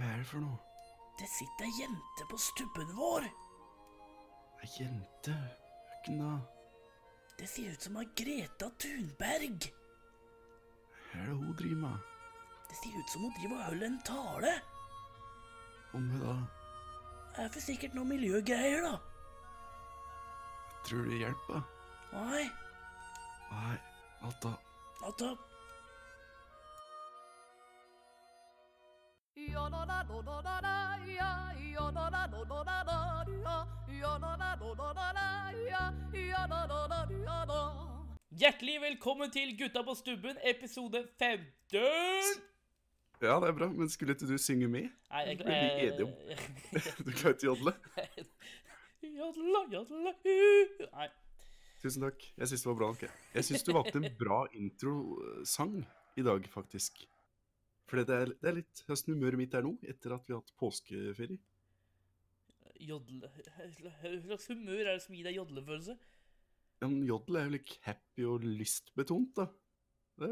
Eh, for noe? Det sitter ei jente på stubben vår. Ei jente? Hvem da? Det ser ut som ei Greta Thunberg. Hva er det hun driver med? Det ser ut som hun driver og holder en tale. Om hun da Det er for sikkert noe miljøgreier, da. Tror du det hjelper? Nei, Nei, Atta. natta. Hjertelig velkommen til Gutta på stubben, episode 15! Ja, det er bra, men skulle ikke du synge med? Nei, jeg, blir vi enige om. Du kan ikke jodle. Jadla, jadla, hu. Nei. Tusen takk. Jeg syns det var bra. Okay. Jeg syns du valgte en bra introsang i dag, faktisk. For det er, det er litt høsten humøret mitt er nå, etter at vi har hatt påskeferie. Jodle Hva slags humør er det som gir deg jodlefølelse? En jodel er jo like happy og lystbetont, da. Det,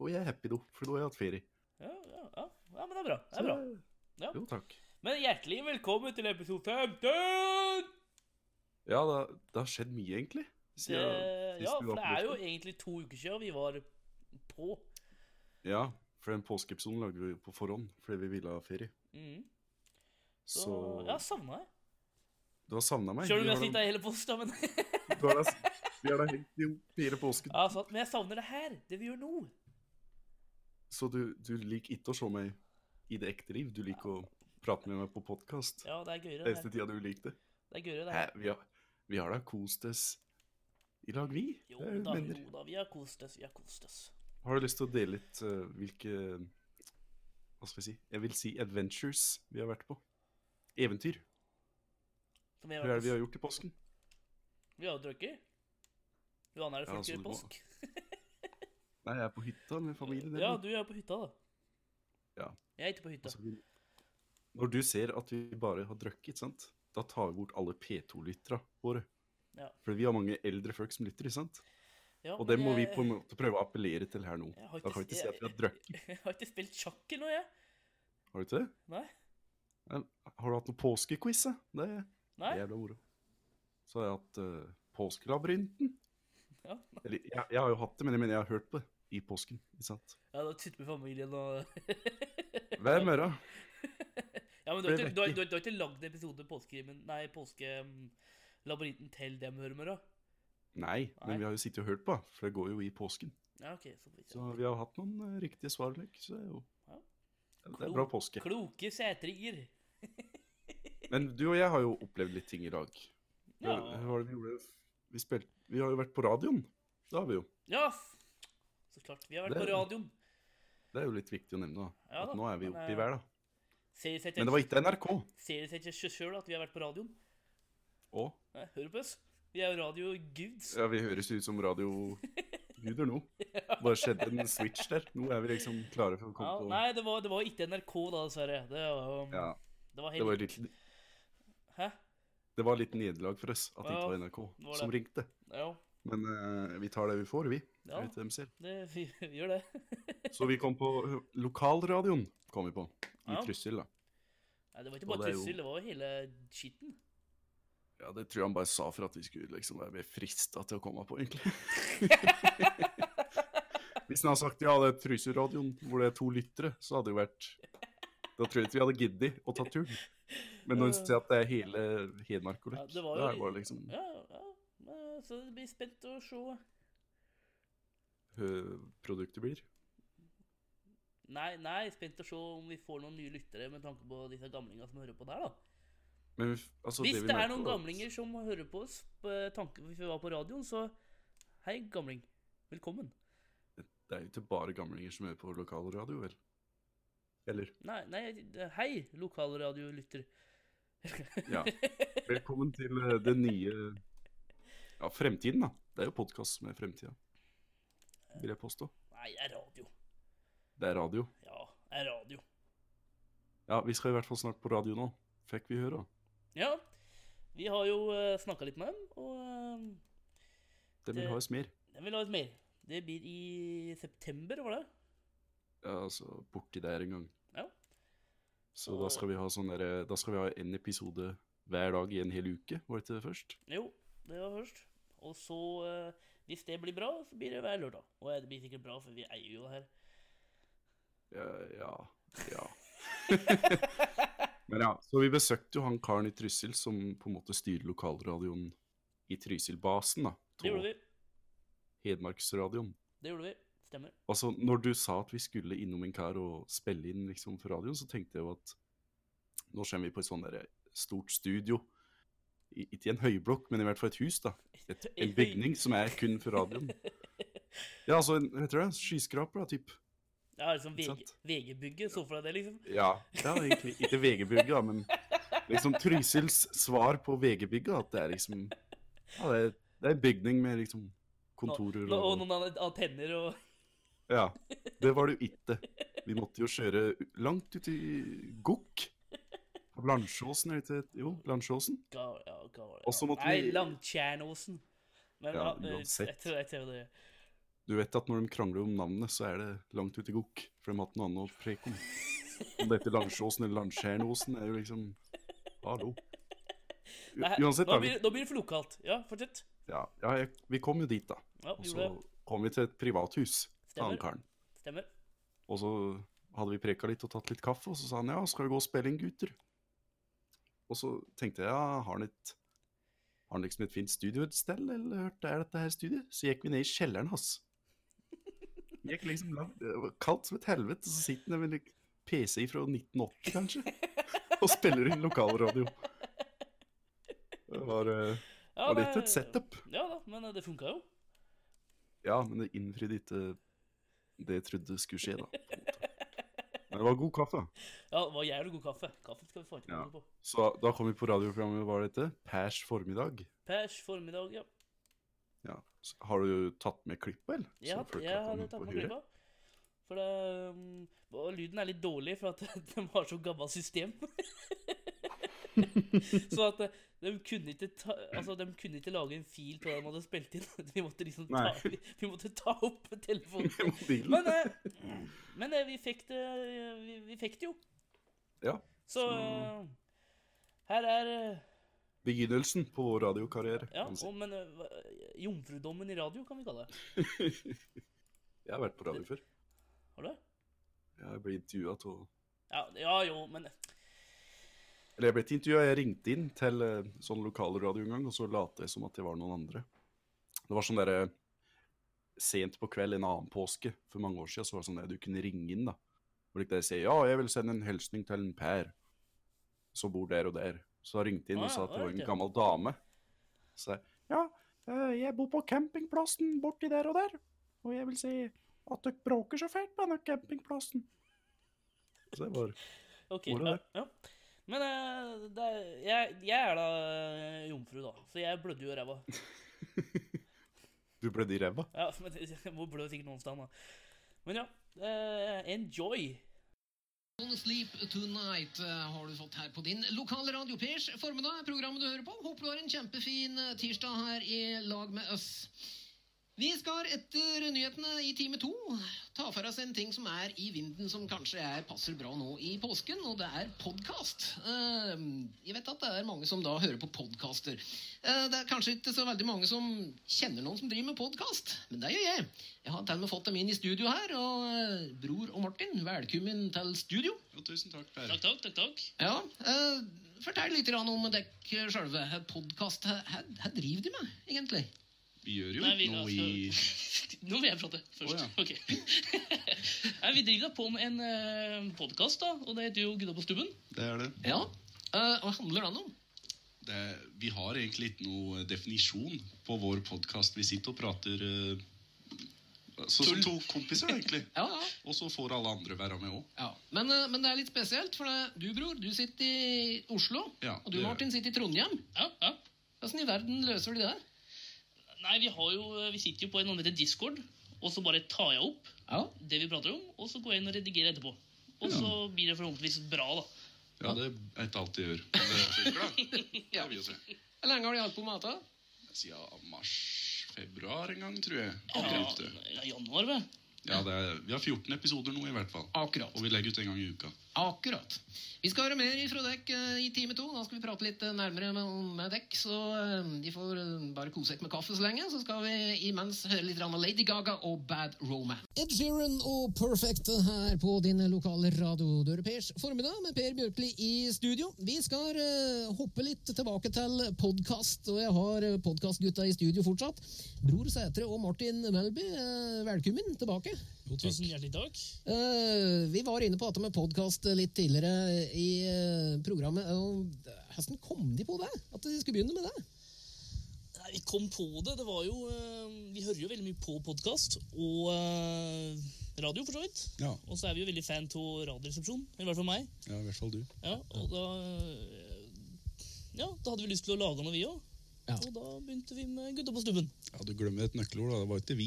og jeg er happy, da, for nå har jeg hatt ferie. Ja, ja, ja, ja, men det er bra. Det er bra. Ja. Jo, takk. Men hjertelig velkommen til episode 15! Ja, det, det har skjedd mye, egentlig. Det, siden Eh, ja, vi for var det på er jo påske. egentlig to uker siden vi var på. Ja, for den påskeepisoden lagde vi på forhånd fordi vi ville ha ferie. Mhm. Så, Så jeg savna deg. du har savna meg. Sjøl om Vi jeg har sitter i hele post, da, men ja, da- du har da- Vi har da hengt i fire påsken. sant. Men jeg savner det her. Det vi gjør nå. Så du, du liker ikke å se meg i det ekte liv. Du liker å prate med meg på podkast. Ja, det er gøyere. Det Eneste her. tida du likte. Det er gøyere, det her. Hæ, vi har, vi har da kost oss i lag, vi. Jo Det er da, venner. jo da. Vi har kost oss. Vi har kost oss. Har du lyst til å dele litt eh, hvilke Hva skal jeg si? Jeg vil si adventures vi har vært på. Eventyr. Som jeg Hva er det vi har har gjort i påsken? Vi har jo drukket. Johan, er det Ja, fullt så i du må- påsk? Nei, jeg er på hytta med familien. Ja, eller? du er på hytta, da. Ja, Jeg er ikke på hytta. altså, vi- Når du ser at vi bare har drukket, sant? da tar vi bort alle P2-lytterne våre. Ja. For vi har mange eldre folk som lytter, ikke sant? Ja, Og men det må vi jeg- på en måte prøve å appellere til her nå. Jeg har Da kan vi ikke- ikke si at vi har drukket. Jeg har ikke spilt sjakk ennå, jeg. Har du ikke det? Nei. Nei, Har du hatt noen påskequiz? da? Det Nei. er jævla moro. Så har jeg hatt eh, Påskelabyrinten. Ja, Eller, jeg, jeg har jo hatt det, men jeg mener jeg har hørt på det i påsken. ikke sant? ja da sitter med familien og Hvem er det? Ja, men du har Ble ikke, du har, vekk i- du har, du har ikke lagd episode påskekrimmen Nei, påskelabyrinten til dem, hører med, da? Nei, Nei. men vi har jo sittet og hørt på, det, for det går jo i påsken. Ja, OK. Så vidt. Så vi har hatt noen eh, riktige svar, Løk, så det er jo Ja. Det er bra påske. Kloke sætringer. Men du og jeg har jo opplevd litt ting i dag. Ja. Hva var det vi gjorde? Vi, spilte, vi har jo vært på radioen. Det har vi jo. Ja, f- så klart. Vi har vært Det- på radioen. Det er jo litt viktig å nevne, da. Ja da, At nå er vi men, oppe eh, i hver, da. Ser de seg Men det var ikke ikke NRK. ser de seg ikke sjøl at vi har vært på radioen? Å? Nei, hører på oss? Vi er jo radioguds. Ja, vi høres ut som radioguder nå. Bare skjedde en switch der. Nå er vi liksom klare for å Ja, komme på nei, det var, det var ikke NRK, da, dessverre. Det var, jo- Ja, det var det helt var litt, Hæ? det var litt nederlag for oss at det ikke var NRK var det. som ringte. Ja, Men eh, vi tar det vi får, vi. Ja. Jeg vet hvem selv. det, vi, vi gjør det. Så vi kom på lokalradioen, kom vi på. I Ja. Trysil, da. Nei, det var ikke Og bare det er jo- Trysil, det var jo hele skitten. Ja, det tror jeg han bare sa for at vi skulle liksom være mer frista til å komme på, egentlig. Hvis han hadde sagt ja, det er Trysil-radioen hvor det er to lyttere, så hadde det jo vært Da tror jeg ikke vi hadde giddet å ta turen. Men når han sier at det er hele Hedmark og Ja, Løkk, det var da jo- er det bare liksom Ja, ja. eh, Så det blir spent å se. hø- produktet blir. Nei, nei, spent å se om vi får noen nye lyttere med tanke på disse gamlingene som hører på der, da. Men vi f- altså, Hvis vi det er merker noen at- gamlinger som hører på oss på eh, tanke hvis vi var på radioen, så hei, gamling. Velkommen. Det er jo ikke bare gamlinger som hører på lokalradio, vel? Eller? Nei, nei, hei, lokalradiolytter. Ja. Velkommen til eh, det nye Ja, fremtiden, da. Det er jo podkast med fremtida, vil jeg påstå. Nei, det er radio. Det er radio. Ja, det er radio. Ja, vi skal i hvert fall snart på radio nå. Fikk vi høre, da. Ja, vi har jo uh, snakka litt med dem, og eh, De vil Det- ha oss mer. Den vil ha et mer. Det blir i september, var det? Ja, altså, borti der en gang. Ja. Så da skal vi ha sånn derre- Da skal vi ha en episode hver dag i en hel uke, var det ikke det først? Jo, det var først. Og så, eh, hvis det blir bra, så blir det hver lørdag. Og det blir sikkert bra, for vi eier jo det her. Ja, ja. ja. Men ja, så vi besøkte jo han karen i Trysil som på en måte styrer lokalradioen i Trysil-basen, da. Det gjorde vi. Hedmarksradioen. Det gjorde vi. Stemmer. Altså, når du sa at vi skulle innom en kar og spille inn liksom for radioen, så tenkte jeg jo at nå kommer vi på et sånn derre stort studio. I, ikke i en høyblokk, men i hvert fall et hus, da. Et, en bygning som er kun for radioen. Ja, altså en, hva heter det, skyskraper, da, typ. Ja, liksom VG- Ikke sant? VG-bygget. Så for deg det, liksom. Ja. ja egentlig, ikke VG-bygget, da, men liksom Trysils svar på VG-bygget, at det er liksom Ja, det er, det er en bygning med liksom kontorer og, og og noen an- antenner og Ja. Det var det jo ikke. Vi måtte jo kjøre langt ut i Gokk. Landsåsen, er det ikke det? Jo, Landsåsen. ga, ja, ga, ja. Og så måtte Nei, vi- Langtjernåsen. Men ja, Ja, det- uansett. jeg tror jeg tror det. Du vet at når de krangler om navnet, så er det langt ut i Gokk. For de har hatt noe annet å preke om. Om det heter Landsåsen eller Landskjernåsen, er jo liksom Hallo. U- Nei, Uansett, nå da. Vi, blir, nå blir det for lokalt. Ja, fortsett. ja, ja, jeg, vi kom jo dit, da. Ja, Og vi så gjorde det. kom vi til et privathus til han Stemmer. karen. Stemmer. Og så hadde vi preka litt og tatt litt kaffe, og så sa han ja, skal vi gå og spille inn, gutter? Og så tenkte jeg ja, har han et har han liksom et fint studio et sted, eller hørte er dette her studiet? Så gikk vi ned i kjelleren hans. Gikk liksom langt, det var kaldt som et helvete, så sitter han der med en PC fra 1980, kanskje, og spiller inn lokalradio. Det var, eh, Ja, var nei, litt et setup. Ja da, men eh, det funka jo. Ja, men det innfridde ikke det jeg trodde skulle skje, da. på en måte. Men det var god kaffe. Ja, det var jævlig god kaffe. Kaffe skal vi få til Ja. noe på. Så da kom vi på radioprogrammet, hva var dette? Pers formiddag. Pers formiddag, ja. Ja. Så Har du tatt med klippet, eller? Så Jeg, folk had- kan jeg hadde komme tatt og med høre. klippa. For det, um, og lyden er litt dårlig, for at de har så gammelt system. så at eh, de kunne, ikke ta, altså, de kunne ikke lage en fil på det de hadde spilt inn. Vi måtte liksom ta, Nei. vi, vi måtte ta opp telefonen. Mobilen. Men, eh, men eh, vi fikk det vi, vi fikk det jo. Ja, Så så- eh, her er eh, Begynnelsen på vår radiokarriere. Ja, kan man si. og, men eh, hva- jomfrudommen i radio kan vi kalle det. Jeg har vært på radio før. Har du det? Jeg ble intervjuet til å- Ja, ja jo, men Eller jeg ble ikke intervjuet, jeg ringte inn til eh, sånn lokalradio en gang, og så late jeg som at jeg var noen andre. Det var sånn derre Sent på kveld en annen påske for mange år siden, så var det sånn der du kunne ringe inn, da. Og like der sier ja, jeg vil sende en hilsning til en Per som bor der og der. Så jeg ringte inn Å og ja, sa at det var oi, en ja. gammel dame. Så jeg ja, eh, jeg bor på campingplassen borti der og der. Og jeg vil si at dere bråker så fælt på denne campingplassen. Så det var Ok, Hvor er ja, det? ja. Men eh, det er, jeg, jeg er da eh, jomfru, da. Så jeg blødde jo i ræva. Du ble de ræva? Ja, men jeg må blø sikkert noen sted, da. Men ja. eh, enjoy. Don't Sleep Tonight eh, har du fått her på din lokale radio. Pers formiddag er programmet du hører på. Håper du har en kjempefin eh, tirsdag her i lag med oss. Vi skal etter nyhetene i time to ta for oss en ting som er i vinden, som kanskje er, passer bra nå i påsken, og det er podkast. Jeg vet at det er mange som da hører på podkaster. Det er kanskje ikke så veldig mange som kjenner noen som driver med podkast, men det gjør jeg. Jeg har til og med fått dem inn i studio her, og eh, Bror og Martin, velkommen til studio. tusen takk, Per. Takk, takk, takk. takk. Ja, eh, Fortell litt grann om dere sjølve. Podkast, hva driver de med, egentlig? Vi gjør jo Nei, vi ikke noe skal- i Nå vil jeg prate først. Å, Ok. Nei, vi driver da på med en uh, podkast, da. Og det heter jo Gutta på stubben. Det er det. Ja, eh, Hva handler den om? det er, vi har egentlig ikke noe definisjon på vår podkast. Vi sitter og prater eh, sånn som to kompiser, egentlig. Ja, ja. Og så får alle andre være med òg. ja. Men, eh, men det er litt spesielt, for det, du, bror, du sitter i Oslo. Ja, og du, det gjør Martin, sitter i Trondheim. Ja, ja. Åssen i verden løser de det? Nei, vi, har jo, eh, vi sitter jo på en annen heter Discord, og så bare tar jeg opp Ja, det vi prater om, og så går jeg inn og redigerer etterpå. Og så blir det forhåpentligvis bra, da. Ja, det er ikke alt de gjør. Men det funker, da. Det har vi jo sett. Hvor lenge har de holdt på med dette? Siden mars-februar en gang, tror jeg. Ja, Akkurat det. ja, januar, vel. Ja, det er, vi har 14 episoder nå, i hvert fall. Akkurat. Og vi legger ut en gang i uka. Akkurat. Vi skal høre mer ifra dekk eh, i time to. Da skal vi prate litt eh, nærmere med, med dekk. Så eh, de får eh, bare kose seg med kaffe så lenge. Så skal vi imens høre litt grann av Lady Gaga og Bad Romance. Ed Sheeran og Perfect her på din lokale radio Dørepers formiddag med Per Bjørkli i studio. Vi skal eh, hoppe litt tilbake til podkast, og jeg har eh, podkastgutta i studio fortsatt. Bror Sætre og Martin Melby, eh, velkommen tilbake. Jo, tusen hjertelig takk. Eh, vi var inne på dette med podkast litt tidligere i eh, programmet. og Hvordan kom de på det? At de skulle begynne med det? Nei, vi kom på det. Det var jo eh, Vi hører jo veldig mye på podkast og eh, radio, for så vidt. Ja, Og så er vi jo veldig fan av Radioresepsjonen. I hvert fall meg. ja, i hvert fall du. Ja, og da eh, Ja, da hadde vi lyst til å lage noe, vi òg. Ja. Og da begynte vi med Gutta på stubben. Ja, Du glemmer et nøkkelord. da, Det var ikke vi.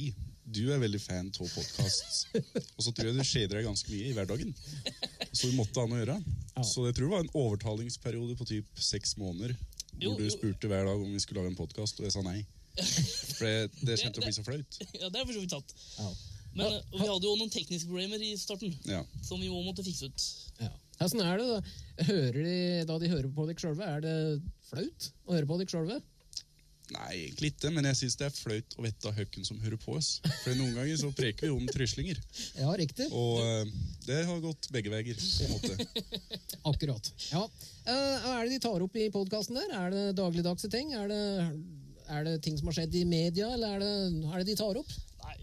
Du er veldig fan av podkast. Og så tror jeg du skjeder deg ganske mye i hverdagen. Så du måtte ha noe å gjøre. Så jeg tror det var en overtalingsperiode på typ seks måneder. Jo, Hvor du jo. spurte hver dag om vi skulle lage en podkast, og jeg sa nei. For det, det kjente å bli så flaut. ja, det er for så vidt sant. Ja. Men eh, og vi hadde jo noen tekniske problemer i starten Ja. som vi må måtte fikse ut. Ja. Hvordan er det da? Hører de, da de hører på dere sjølve, er det flaut å høre på dere sjølve? Nei, egentlig ikke, men jeg syns det er flaut å vite hvem som hører på oss. For noen ganger så preker vi om tryslinger. Ja, riktig. Og eh, det har gått begge veier, på en måte. Akkurat. Ja. Eh, hva er det de tar opp i podkasten der? Er det dagligdagse ting? Er det, er det ting som har skjedd i media, eller er det, er det de tar opp? Nei,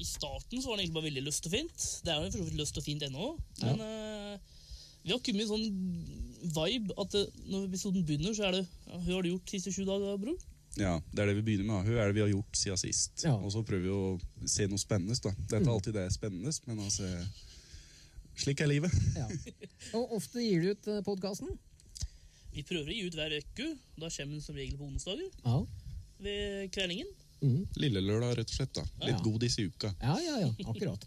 I starten så var det egentlig bare veldig løst og fint. Det er jo for så vidt løst og fint ennå. Men eh, vi har kommet i en sånn vibe at eh, når episoden begynner, så er det ja, 'Hva har du gjort de siste sju dager, bror?' Ja, Det er det vi begynner med. da. Hva er det vi har gjort siden sist? Ja. Og så prøver vi å se noe spennende. da. Det Mm. er ikke alltid det er spennende, men altså Slik er livet. Ja. Og ofte gir de ut eh, podkasten? Vi prøver å gi ut hver uke. Da kommer den som regel på onsdager Ja. ved kvelingen. Mm. Lillelørdag, rett og slett. da. Litt Ja. godis i uka. Ja, ja, ja, akkurat.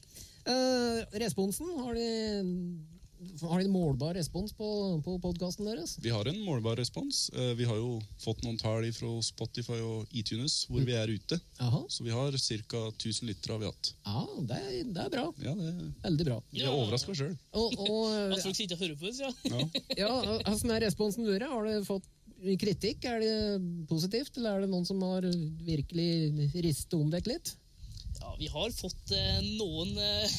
Eh, responsen, har de, har de en målbar respons på, på podkasten deres? Vi har en målbar respons. Eh, Vi har jo fått noen tall fra Spotify og iTunes Mm. hvor vi er ute. Jaha. Så vi har ca. 1000 lyttere har vi hatt. Ja, det er, det er bra. Ja, det, Veldig bra. Vi er overraska sjøl. Og, og Altså. At folk sitter og hører på oss, ja. Ja. ja, hvordan er responsen deres? Har du fått kritikk? Er det positivt, eller er det noen som har virkelig ristet om dere litt? ja vi har fått eh, noen eh,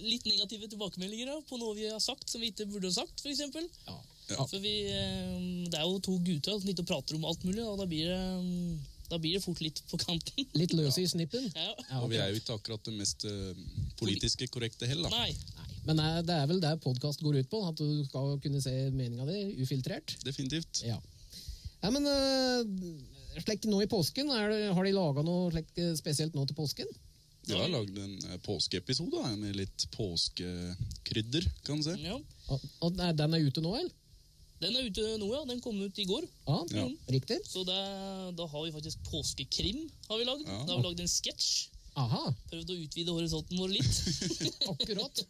litt negative tilbakemeldinger da, på noe vi har sagt som vi ikke burde ha sagt, f.eks. Ja. Ja. For vi, eh, det er jo to gutter som sitter og prater om alt mulig, og da blir det, eh, da blir det fort litt på kanten. Litt løs i snippen? Ja. Ja, Og vi akkurat. er jo ikke akkurat det mest eh, politiske korrekte heller. da. Nei, Nei, Men det er- det er vel det podkast går ut på? At du skal kunne se meninga di ufiltrert? Definitivt. Ja. ja men eh, slik nå i påsken, er det, har de laga noe slik eh, spesielt nå til påsken? Vi har lagd en eh, påskeepisode da, med litt påskekrydder, kan du si. ja. Og, og er- den er ute nå, eller? Den er ute nå, ja. Den kom ut i går. Ja, Ja. riktig. Så det, da har vi faktisk påskekrim. har vi lagd. Ja. Da har vi lagd en sketsj. Aha, Prøvd å utvide horisonten vår litt. akkurat.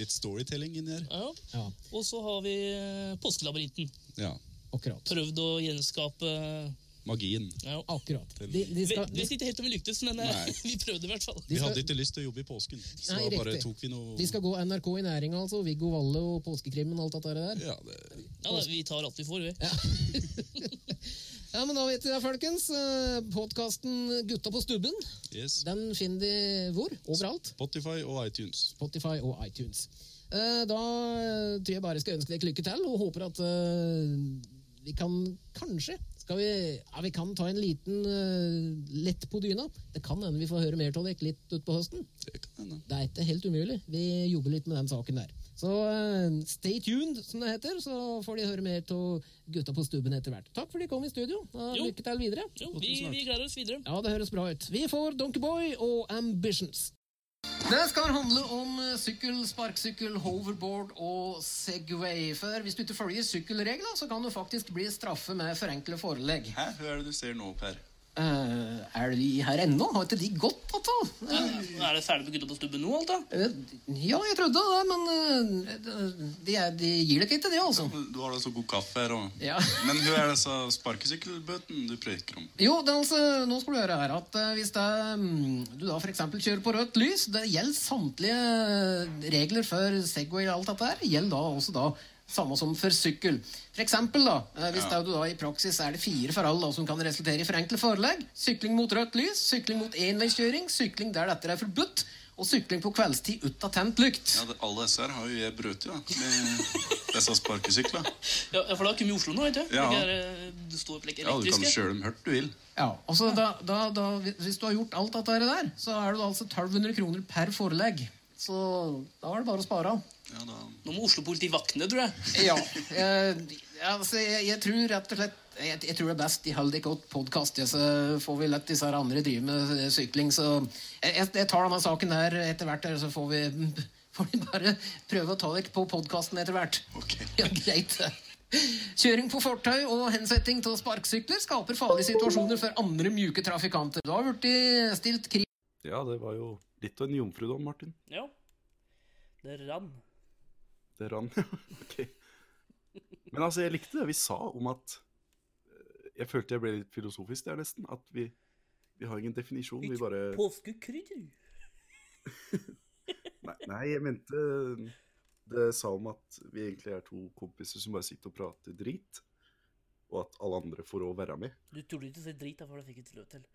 Litt storytelling inni her. Ja. Ja, Og så har vi eh, Påskelabyrinten. Ja, akkurat. Prøvd å gjenskape eh, Magien. ja. Akkurat. De, de Vi skal, vi vet ikke helt om vi lyktes, men eh, Nei. vi prøvde i hvert fall. Vi skal- hadde ikke lyst til å jobbe i påsken, så Nei, da bare riktig. tok vi noe de skal gå NRK i næringa, altså. Viggo Valle og påskekrimmen og alt dette der. Ja, det... Ja, da, vi tar alt vi får, vi. Ja, men da vet vi det, folkens. Podkasten Gutta på stubben, Yes. den finner de hvor? Overalt. Spotify og iTunes. Spotify og iTunes. Eh, Da eh, tror jeg bare skal ønske dere lykke til, og håper at eh, vi kan kanskje skal vi, ja, vi kan ta en liten eh, lett på dyna. Det kan hende vi får høre mer av dere litt utpå høsten. Det kan hende. Det er ikke helt umulig. Vi jobber litt med den saken der. Så eh, stay tuned, som det heter, så får de høre mer av gutta på stubben etter hvert. Takk for at de kom i studio. og Jo. Lykke til videre. Jo, vi, vi gleder oss videre. Ja, det høres bra ut. Vi får Donkeyboy og Ambitions. Det skal handle om eh, sykkel, sparkesykkel, hoverboard og Segway. For hvis du ikke følger sykkelreglene, så kan du faktisk bli straffet med forenklet forelegg. Hæ, hva er det du ser nå, Per? Eh, er de her ennå? Har ikke de gått, Atal? Er det ferdig med gutta på stubben nå, alt da? Eh, ja, jeg trodde det, men eh, de, er, de gir dere ikke det, altså. Du har da så god kaffe her òg. Ja. Men hun er disse sparkesykkelbøtene du preker om. Jo, det er altså, nå skal du høre her at eh, hvis det, mm, du da for eksempel kjører på rødt lys, det gjelder samtlige eh, regler for Segway og alt dette her, gjelder da også da samme som for sykkel. For eksempel da, eh, hvis det er du da i praksis er det fire forhold da, som kan resultere i forenklet forelegg, sykling mot rødt lys, sykling mot enveiskjøring, sykling der dette er forbudt, og sykling på kveldstid ut av tent lykt. Ja, det, Alle disse her har jo jeg brøt i, da. Med disse sparkesyklene. Ja, for da kommer vi i Oslo nå, vet du. Ja. Det er, eh, Du står på like Ja, du kan elektriske. kjøre dem hørt du vil. Ja, altså da, da, da, Hvis du har gjort alt dette her der, så er det da altså 1200 kroner per forelegg. Så da er det bare å spare. Ja, da Nå må Oslo-politiet vakne, tror jeg. Ja. Jeg, altså, jeg, jeg tror rett og slett jeg, jeg tror det er best de holder ikke opp podkast, ja, så får vi lett disse her andre drive med eh, sykling. Så jeg, jeg- jeg tar denne saken her etter hvert, her, så får vi, får vi bare prøve å ta dere på podkasten etter hvert. Ok. Ja, greit. Kjøring på fortau og hensetting av sparkesykler skaper farlige situasjoner for andre mjuke trafikanter. Da har de stilt krig Ja, det var jo litt av en jomfrudom, Martin. Ja. Det rann. Det rann, ja. ok. Men altså, jeg likte det vi sa om at eh, Jeg følte jeg ble litt filosofisk der, nesten. At vi, vi har ingen definisjon. Vi bare Påskekrydder. Nei, nei, jeg mente eh, det sa om at vi egentlig er to kompiser som bare sitter og prater drit. Og at alle andre får òg være med. Du torde ikke å si drit, da, for det fikk ikke lov til.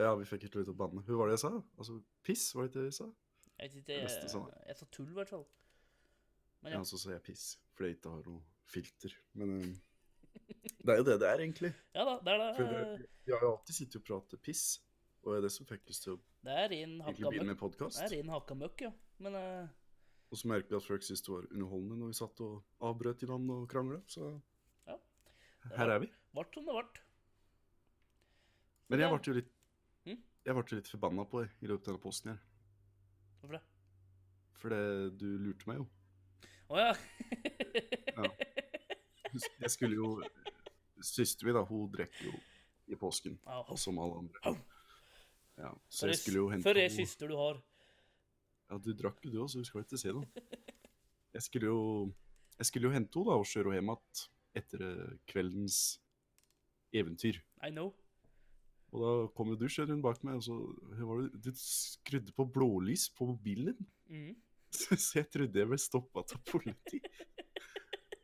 Ja, vi fikk ikke lov til å banne. Hva var det jeg sa? Altså, piss, var det ikke det jeg sa? Jeg, vet ikke, jeg, Beste jeg, sånn. sa tull, i hvert fall. Men Ja, altså. ja. så sa jeg piss, fordi jeg ikke har noe filter. Men eh, det er jo det det er, egentlig. ja da, det er For da. det- Vi har jo alltid sittet og pratet piss, og det er det som fikk oss til å Det er ren egentlig begynne med hakkamøkk. podkast. Det er ren hakkamøkk, ja. Men eh, Og så merket vi at folk syntes det var underholdende når vi satt og avbrøt i land og krangla, så Ja. her er vi. vart som det vart. Men jeg Ja. ble jo litt Mm. Jeg ble jo litt forbanna på deg i løpet av denne posten her. Hvorfor det? For det, du lurte meg jo. Å ja. Jeg skulle jo Søsteren min, da, hun drikker jo i påsken, Au, au. som alle andre. Ja, så For jeg det- skulle jo hente For det henne- syster du har. Ja, du drakk jo du òg, så du skal jo ikke si noe. Jeg skulle jo, jeg skulle jo hente henne da, og kjøre henne hjem igjen etter eh, kveldens eventyr. I know. Og da kom jo du skjønner hun bak meg, og så hva var det, du skrudde på blålys på mobilen din. Mhm. Så jeg trodde jeg ble stoppa av politi.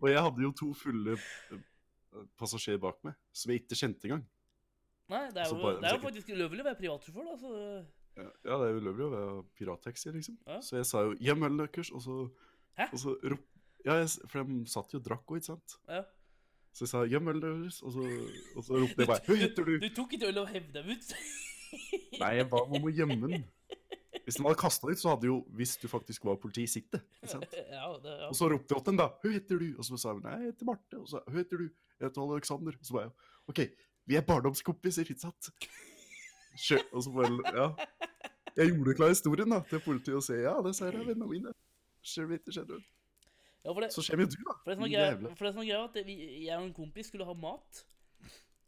Og jeg hadde jo to fulle eh, passasjerer bak meg, som jeg ikke kjente engang. Nei, det er Så jo, bare- det er jo faktisk ulovlig å være privatsjåfør, da. Så Ja, ja, det er ulovlig å være pirattaxi, liksom. Ja. Så jeg sa jo 'gjem ølen deres', og så, Hæ? og så rop, Ja, jeg, s- for de satt jo og drakk òg, ikke sant? ja. Så jeg sa 'gjem ølen deres', og så, og så ropte jeg bare 'hva heter Du du?' tok ikke øl og hevde dem ut. Nei, jeg ba om å gjemme den. Hvis de hadde kasta ut, så hadde jo, hvis du faktisk var politi, sitte. Ikke sant? ja, det, ja. Og så ropte jeg til henne, da. 'Hva heter du?' Og så sa hun 'Nei, jeg heter Marte'. Og så 'Hva heter du?' 'Jeg heter Alexander'. Og så var jeg 'OK, vi er barndomskompiser, ikke sant?' Kjø og så bare Ja. Jeg gjorde klar historien da, til politiet og sa 'Ja, det ser jeg, vennene mine'. Skjer det ikke, skjer det. ja for det, Så kommer jo du, da. For det som er din greia, jævla- for det som er greia var at vi, jeg og en kompis skulle ha mat.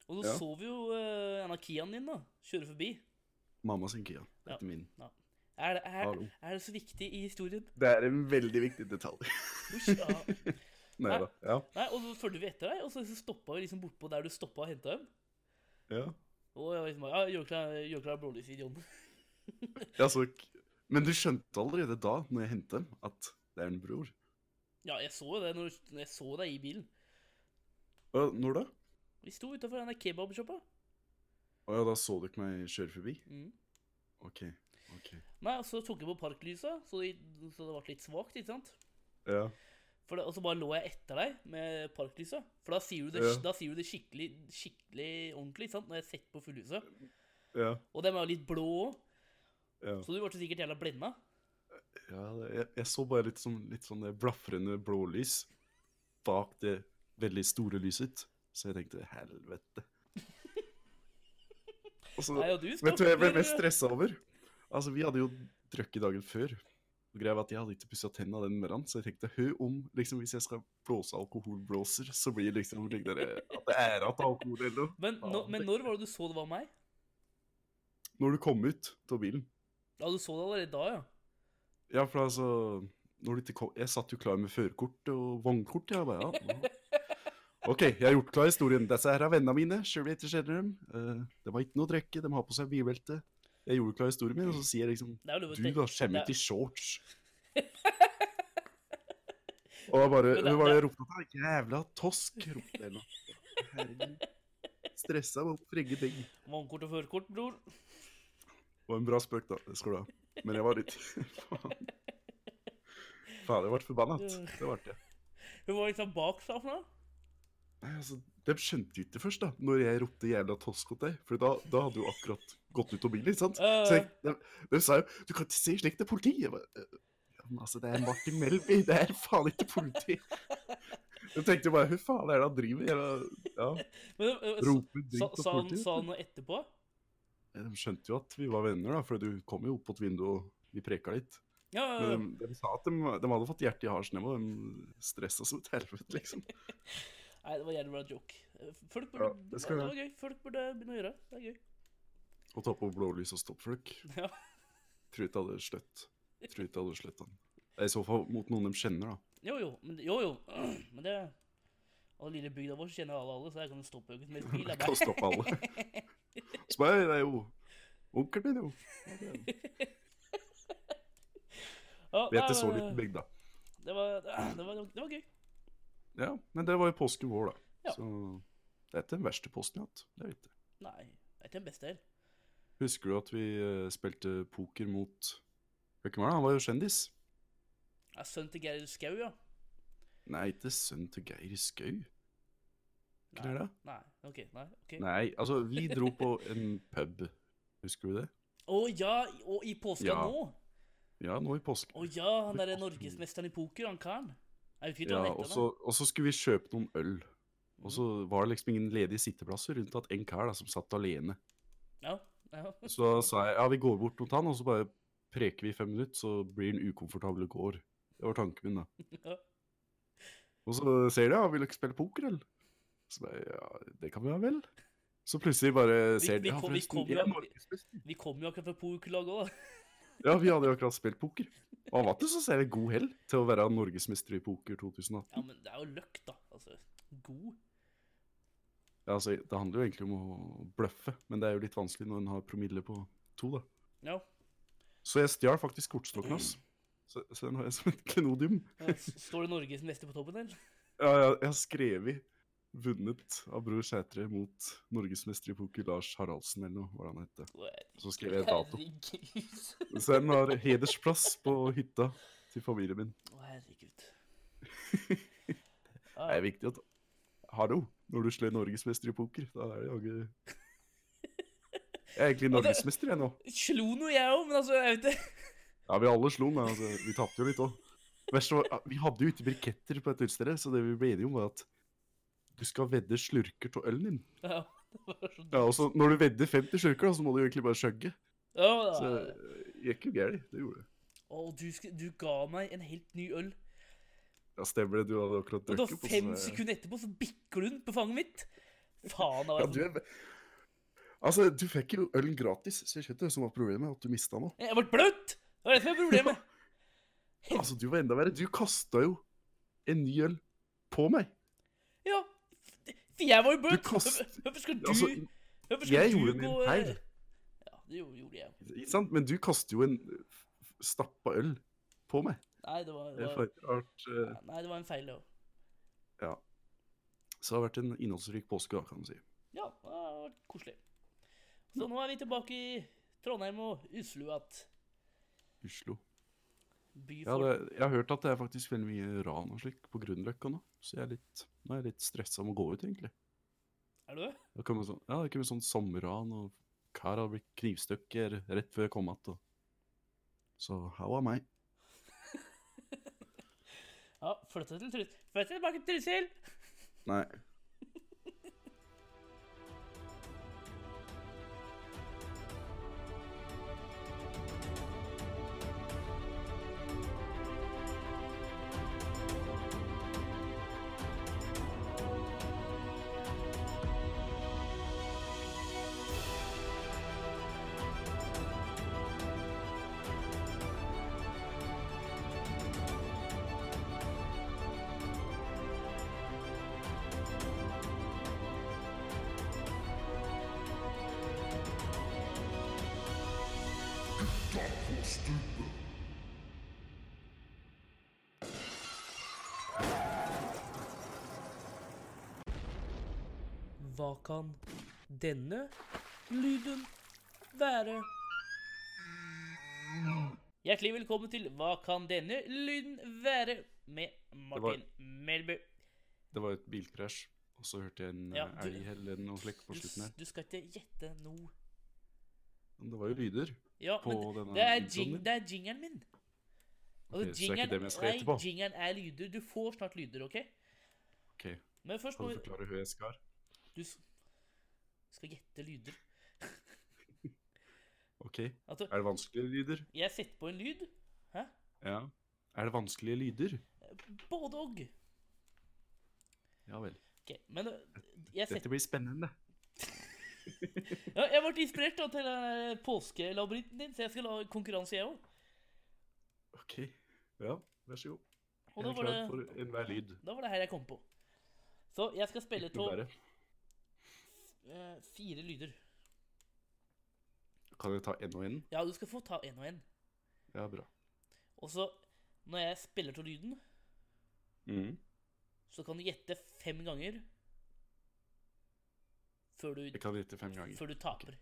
Og så Ja. så vi jo uh, en av Kiaen din da, kjøre forbi. Mamma sin Kia. Det er Ja. ikke min. Er, det- er, Hallo. er det så viktig i historien? Det er en veldig viktig detalj. Usj, ja. Nei da. Ja. Nei, og så fulgte vi etter deg, og så så stoppa vi liksom bortpå der du stoppa og henta dem. ja. Og jeg var liksom bare, ja, gjør klar, gjør klar blålysvideoen. ja så, men du skjønte allerede da, når jeg hentet dem, at det er en bror. Ja, jeg så jo det når når jeg så deg i bilen. Å, Når da? Vi sto utafor den der kebabsjappa. Å ja, da så du ikke meg kjøre forbi? Mm. OK. ok. Nei, og så tok jeg på parklysa, så, de, så det ble litt svakt, ikke sant? Ja. For det, og så bare lå jeg etter deg med parklysa. For da sier du det, Ja. da sier du det skikkelig, skikkelig ordentlig, ikke sant? når jeg setter på fullhuset. Ja. Og dem er jo litt blå òg, Ja. så du ble sikkert jævla blenda. Ja, det- jeg, jeg så bare litt sånn, litt sånn det blafrende blålys bak det veldig store lyset, så jeg tenkte helvete. Og så, Nei, og du vet du hva jeg ble stopper- mest stressa over? Altså, vi hadde jo drukket dagen før, Og greia var at Jeg hadde ikke pussa tenna den morgenen, så jeg tenkte hø om liksom, hvis jeg skal blåse alkoholblåser, så blir det liksom slik der, at det er igjen alkohol eller noe. Men, nå- men når var det du så det var meg? Når du kom ut av bilen Ja, du så det allerede da, ja. Ja, for altså når du ikke kom, Jeg satt jo klar med førerkort og vognkort. Jeg bare, ja. nå- OK, jeg har gjort klar historien. Disse her er vennene mine. Selv om jeg ikke kjenner dem. Eh, det var ikke noe å drikke. De har på seg bilbelte. Jeg gjorde klar historien min, og så sier jeg liksom Det er jo lov å Du tenke- da, skjemmer det er- ut i shorts. Og da bare, Men det- hun bare ropte at jeg jævla tosk, ropte jeg nå. Herregud. Stressa meg opp for ingenting. Det Vognkort og førerkort, bror. var en bra spøk, da. Det skal du ha. Men jeg var litt Faen. Faen, jeg ble forbanna. Det ble jeg. Hun var liksom bak seg for noe. Nei, altså, de skjønte jo ikke først, da, når jeg ropte 'jævla tosk' mot deg. For da, da hadde du akkurat gått ut av bilen, ikke sant? Ja, Så ja. jeg, de, de sa jo 'du kan ikke si slikt til politiet'. Jeg bare, «Øh, ja, men altså, det er Martin Melby, det er faen ikke politi. Jeg tenkte jo bare 'hva faen er det han driver med?' Eller, Ja, Men, øh, øh, roper sa, dritt sa, av han, politiet. sa han noe etterpå? De skjønte jo at vi var venner, da, for du kom jo opp på et vindu og vi preka litt. Ja, ja, ja. Men um, de, de sa at de, de hadde fått hjertet i harsen, og de stressa som et helvete, liksom. Nei, det var jævlig bra joke. Folk burde, Ja, det, det skal det jeg. var gøy. Folk burde begynne å gjøre det. Det er gøy. Å ta på blålys og stoppfløk. Ja. Tror ikke jeg hadde sløtt. Tror ikke jeg hadde sløtt han. Det er I så fall mot noen de kjenner, da. Jo, jo. Men, jo, jo. men det Og lille bygda vår kjenner alle alle, så jeg kan jo stoppe øyet med bil. Jeg Jeg kan bare, stoppe alle. Så bare, «Hei, det er jo onkelen min, jo. Ja, Vi nei, heter så men, liten bygd, da. det var, det, var, det var gøy. Ja, men det var jo påsken vår, Ja. da. Så det er ikke den verste posten jeg har hatt. Det er det ikke. Nei, det er ikke den beste her. Husker du at vi eh, spilte poker mot Hvem var det? Han var jo kjendis. Ja, Sønnen til Geir Skau, ja. Nei, ikke sønnen til Geir Skau. Hvem er det? Nei, OK. nei, ok. Å Nei, altså, vi dro på en pub. Husker du det? ja, og i påska Ja. nå? Ja, nå i påsken. Å ja, han derre norgesmesteren i poker, han karen. Jeg husker ikke Ja, hva han og heter. så, og så skulle vi kjøpe noen øl. Og så Mm. var det liksom ingen ledige sitteplasser rundt at en kar da, som satt alene. da. Ja, ja. Så da sa jeg ja, vi går bort mot han, og så bare preker vi i fem minutter, så blir han ukomfortabel og går. Det var tanken min, da. Ja. Og så ser de ja, vil dere spille poker, eller? Så bare ja, det kan vi ja vel. Så plutselig bare ser vi de ja, kom- vi kom forresten, vi jo- er norgesmester. Vi kom jo akkurat fra pokerlaget òg, da. Ja, vi hadde jo akkurat spilt poker. Og han var ikke så særlig god hell til å være norgesmester i poker 2018. Ja, men det er jo løkk, da. Altså, god. Ja, altså, det handler jo egentlig om å bløffe, men det er jo litt vanskelig når en har promille på to, da. Ja. Så jeg stjal faktisk kortstokken hans. Så, så den har jeg som et klenodium. Ja, s- Står det Norgesmester på toppen, eller? Ja, jeg, jeg har skrevet 'vunnet av Bror Sætre mot norgesmester i poker Lars Haraldsen', eller noe, hva han heter. Så skrev jeg dato. Herregud. Så den har hedersplass på hytta til familien min. Å, herregud. Det er viktig at Hallo, når du slår norgesmester i poker, da er det jaggu Jeg er egentlig norgesmester, jeg nå. Slo noe, jeg òg, men altså, jeg vet ikke. Ja, vi alle slo den, men altså, vi tapte jo litt òg. Vi hadde jo ikke briketter på et utested, så det vi ble enige om, var at du skal vedde slurker av ølen din. Ja, det var så Ja, og så Når du vedder 50 slurker, da, så må du jo egentlig bare skjøgge. ja, Så da. det gikk jo gærent. Det gjorde det. Å, du, sk- du ga meg en helt ny øl. Ja, stemmer det. Du hadde akkurat Og da drukket opp, og fem så- sekunder etterpå så bikker du den på fanget mitt. Faen, da var Ja, jeg du sånn- er... Altså, du fikk jo ølen gratis, så jeg skjønte det som var problemet, at du mista den òg. Jeg ble bløt! Det var det som var problemet. Altså, du var enda verre. Du kasta jo en ny øl på meg. Ja, for jeg var jo Du bløt. kast- Hvorfor- Hvorfor skulle du Altså, Hvorfor skulle jeg du gjorde min gå- feil. Ja, det gjorde, gjorde jeg. Ikke sant? Men du kaster jo en f- f- stappa øl på meg. Nei, det var, Det det er var, for rart. eh, nei, det var en feil, det òg. Så det har vært en innholdsrik påske, da, kan man si. Ja, det har vært koselig. Så nå er vi tilbake i Trondheim og Oslo igjen. Oslo. Ja, Byfolk. det, jeg har hørt at det er faktisk veldig mye ran og slik på Grünerløkka nå. Så jeg er litt, nå er jeg litt stressa om å gå ut, egentlig. Er du det? Det har kommet sånn, ja, det har kommet sånn sommerran, og kar har blitt knivstukket rett før jeg kom igjen. Så how am I? Ja, flytte til Trus... Flytte tilbake til Trysil! Nei. Hva kan denne lyden være? Hjertelig velkommen til Hva kan denne lyden være? med Martin Melbu. Det var et bilkrasj, og så hørte jeg en Ja, ja, du- elg eller noe slikt på Du, slutten her. du skal ikke gjette noe. Men det var jo lyder. Ja, På men denne det er, introen jing, din? det er jingeren min. Ok, så det er ikke dem jeg skal nei, gjette på? jingeren er lyder. Du får snart lyder, OK? Ok, Men først Kan må du vi forklare hva jeg skal? Du s- skal gjette lyder. Ok, Er Altså, det vanskelige lyder? jeg setter på en lyd. Hæ? Ja. Er det vanskelige lyder? Både og. Ja vel. Ok, men øh, jeg setter Dette blir spennende. ja, Jeg ble inspirert da, til den der påskelabyrinten din, så jeg skal lage konkurranse, jeg òg. Ok. Ja, vær så god. Og Jeg da er var, klar det, for enhver lyd. da var det her jeg kom på. Så jeg skal spille Ikke av verre. eh, fire lyder. Kan jeg ta en og en? Ja, du skal få ta én og én. Ja, bra. Og så, når jeg spiller av lyden, Mhm. så kan du gjette fem ganger før du, Jeg kan gjette fem ganger. før du taper.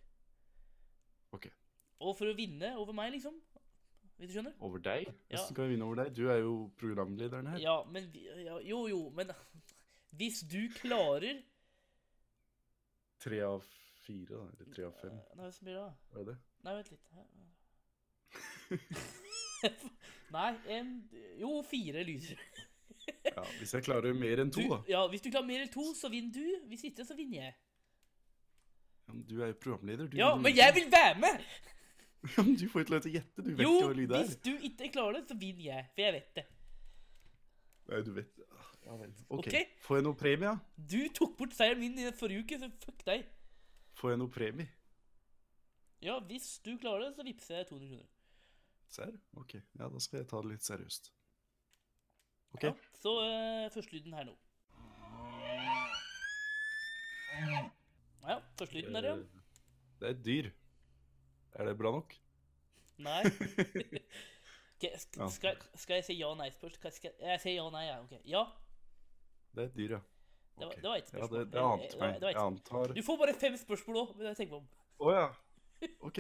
Ok. Og for å vinne over meg, liksom. Hvis du skjønner? Over deg? Ja. Hvordan kan jeg vinne over deg? Du er jo programlederen her. Ja, men vi- ja, Jo, jo, men hvis du klarer Tre av fire, da. Eller tre av fem. Nei, hva blir det da? Hva er det? Nei, vent litt. Nei, en Jo, fire lyder. Ja, Hvis jeg klarer mer enn Du, to, da. ja, hvis du klarer mer enn to, så vinner du. Hvis ikke, så vinner jeg. Ja, men du er jo programleder. Du, Ja, du- men jeg vil være med! Ja, men Du får ikke lov til å gjette. Du vet Jo, ikke hva lyd er. hvis du ikke klarer det, så vinner jeg. For jeg vet det. Nei, du vet. Ja, vel. Ok. Ok. Får jeg noe premie? da? Du tok bort seieren min i forrige uke, så fuck deg. Får jeg noe premie? Ja, hvis du klarer det, så vippser jeg 200 kroner. Serr? Ok, ja, da skal jeg ta det litt seriøst. Ok. Ja, så eh, førstelyden her nå. Ja, førstelyden der, ja. Eh, Det er et dyr. Er det bra nok? Nei. Ok, sk- Ja. skal, skal jeg si ja og nei først? Skal- skal- Jeg sier ja og nei, ja. ok. Ja. Det er et dyr, ja. Det var- Ok. det var et spørsmål. Ja, det, det Eh, ante det var- meg. det var et Jeg antar Å Du får bare fem spørsmål òg, men jeg tenker meg om. ja. Ok.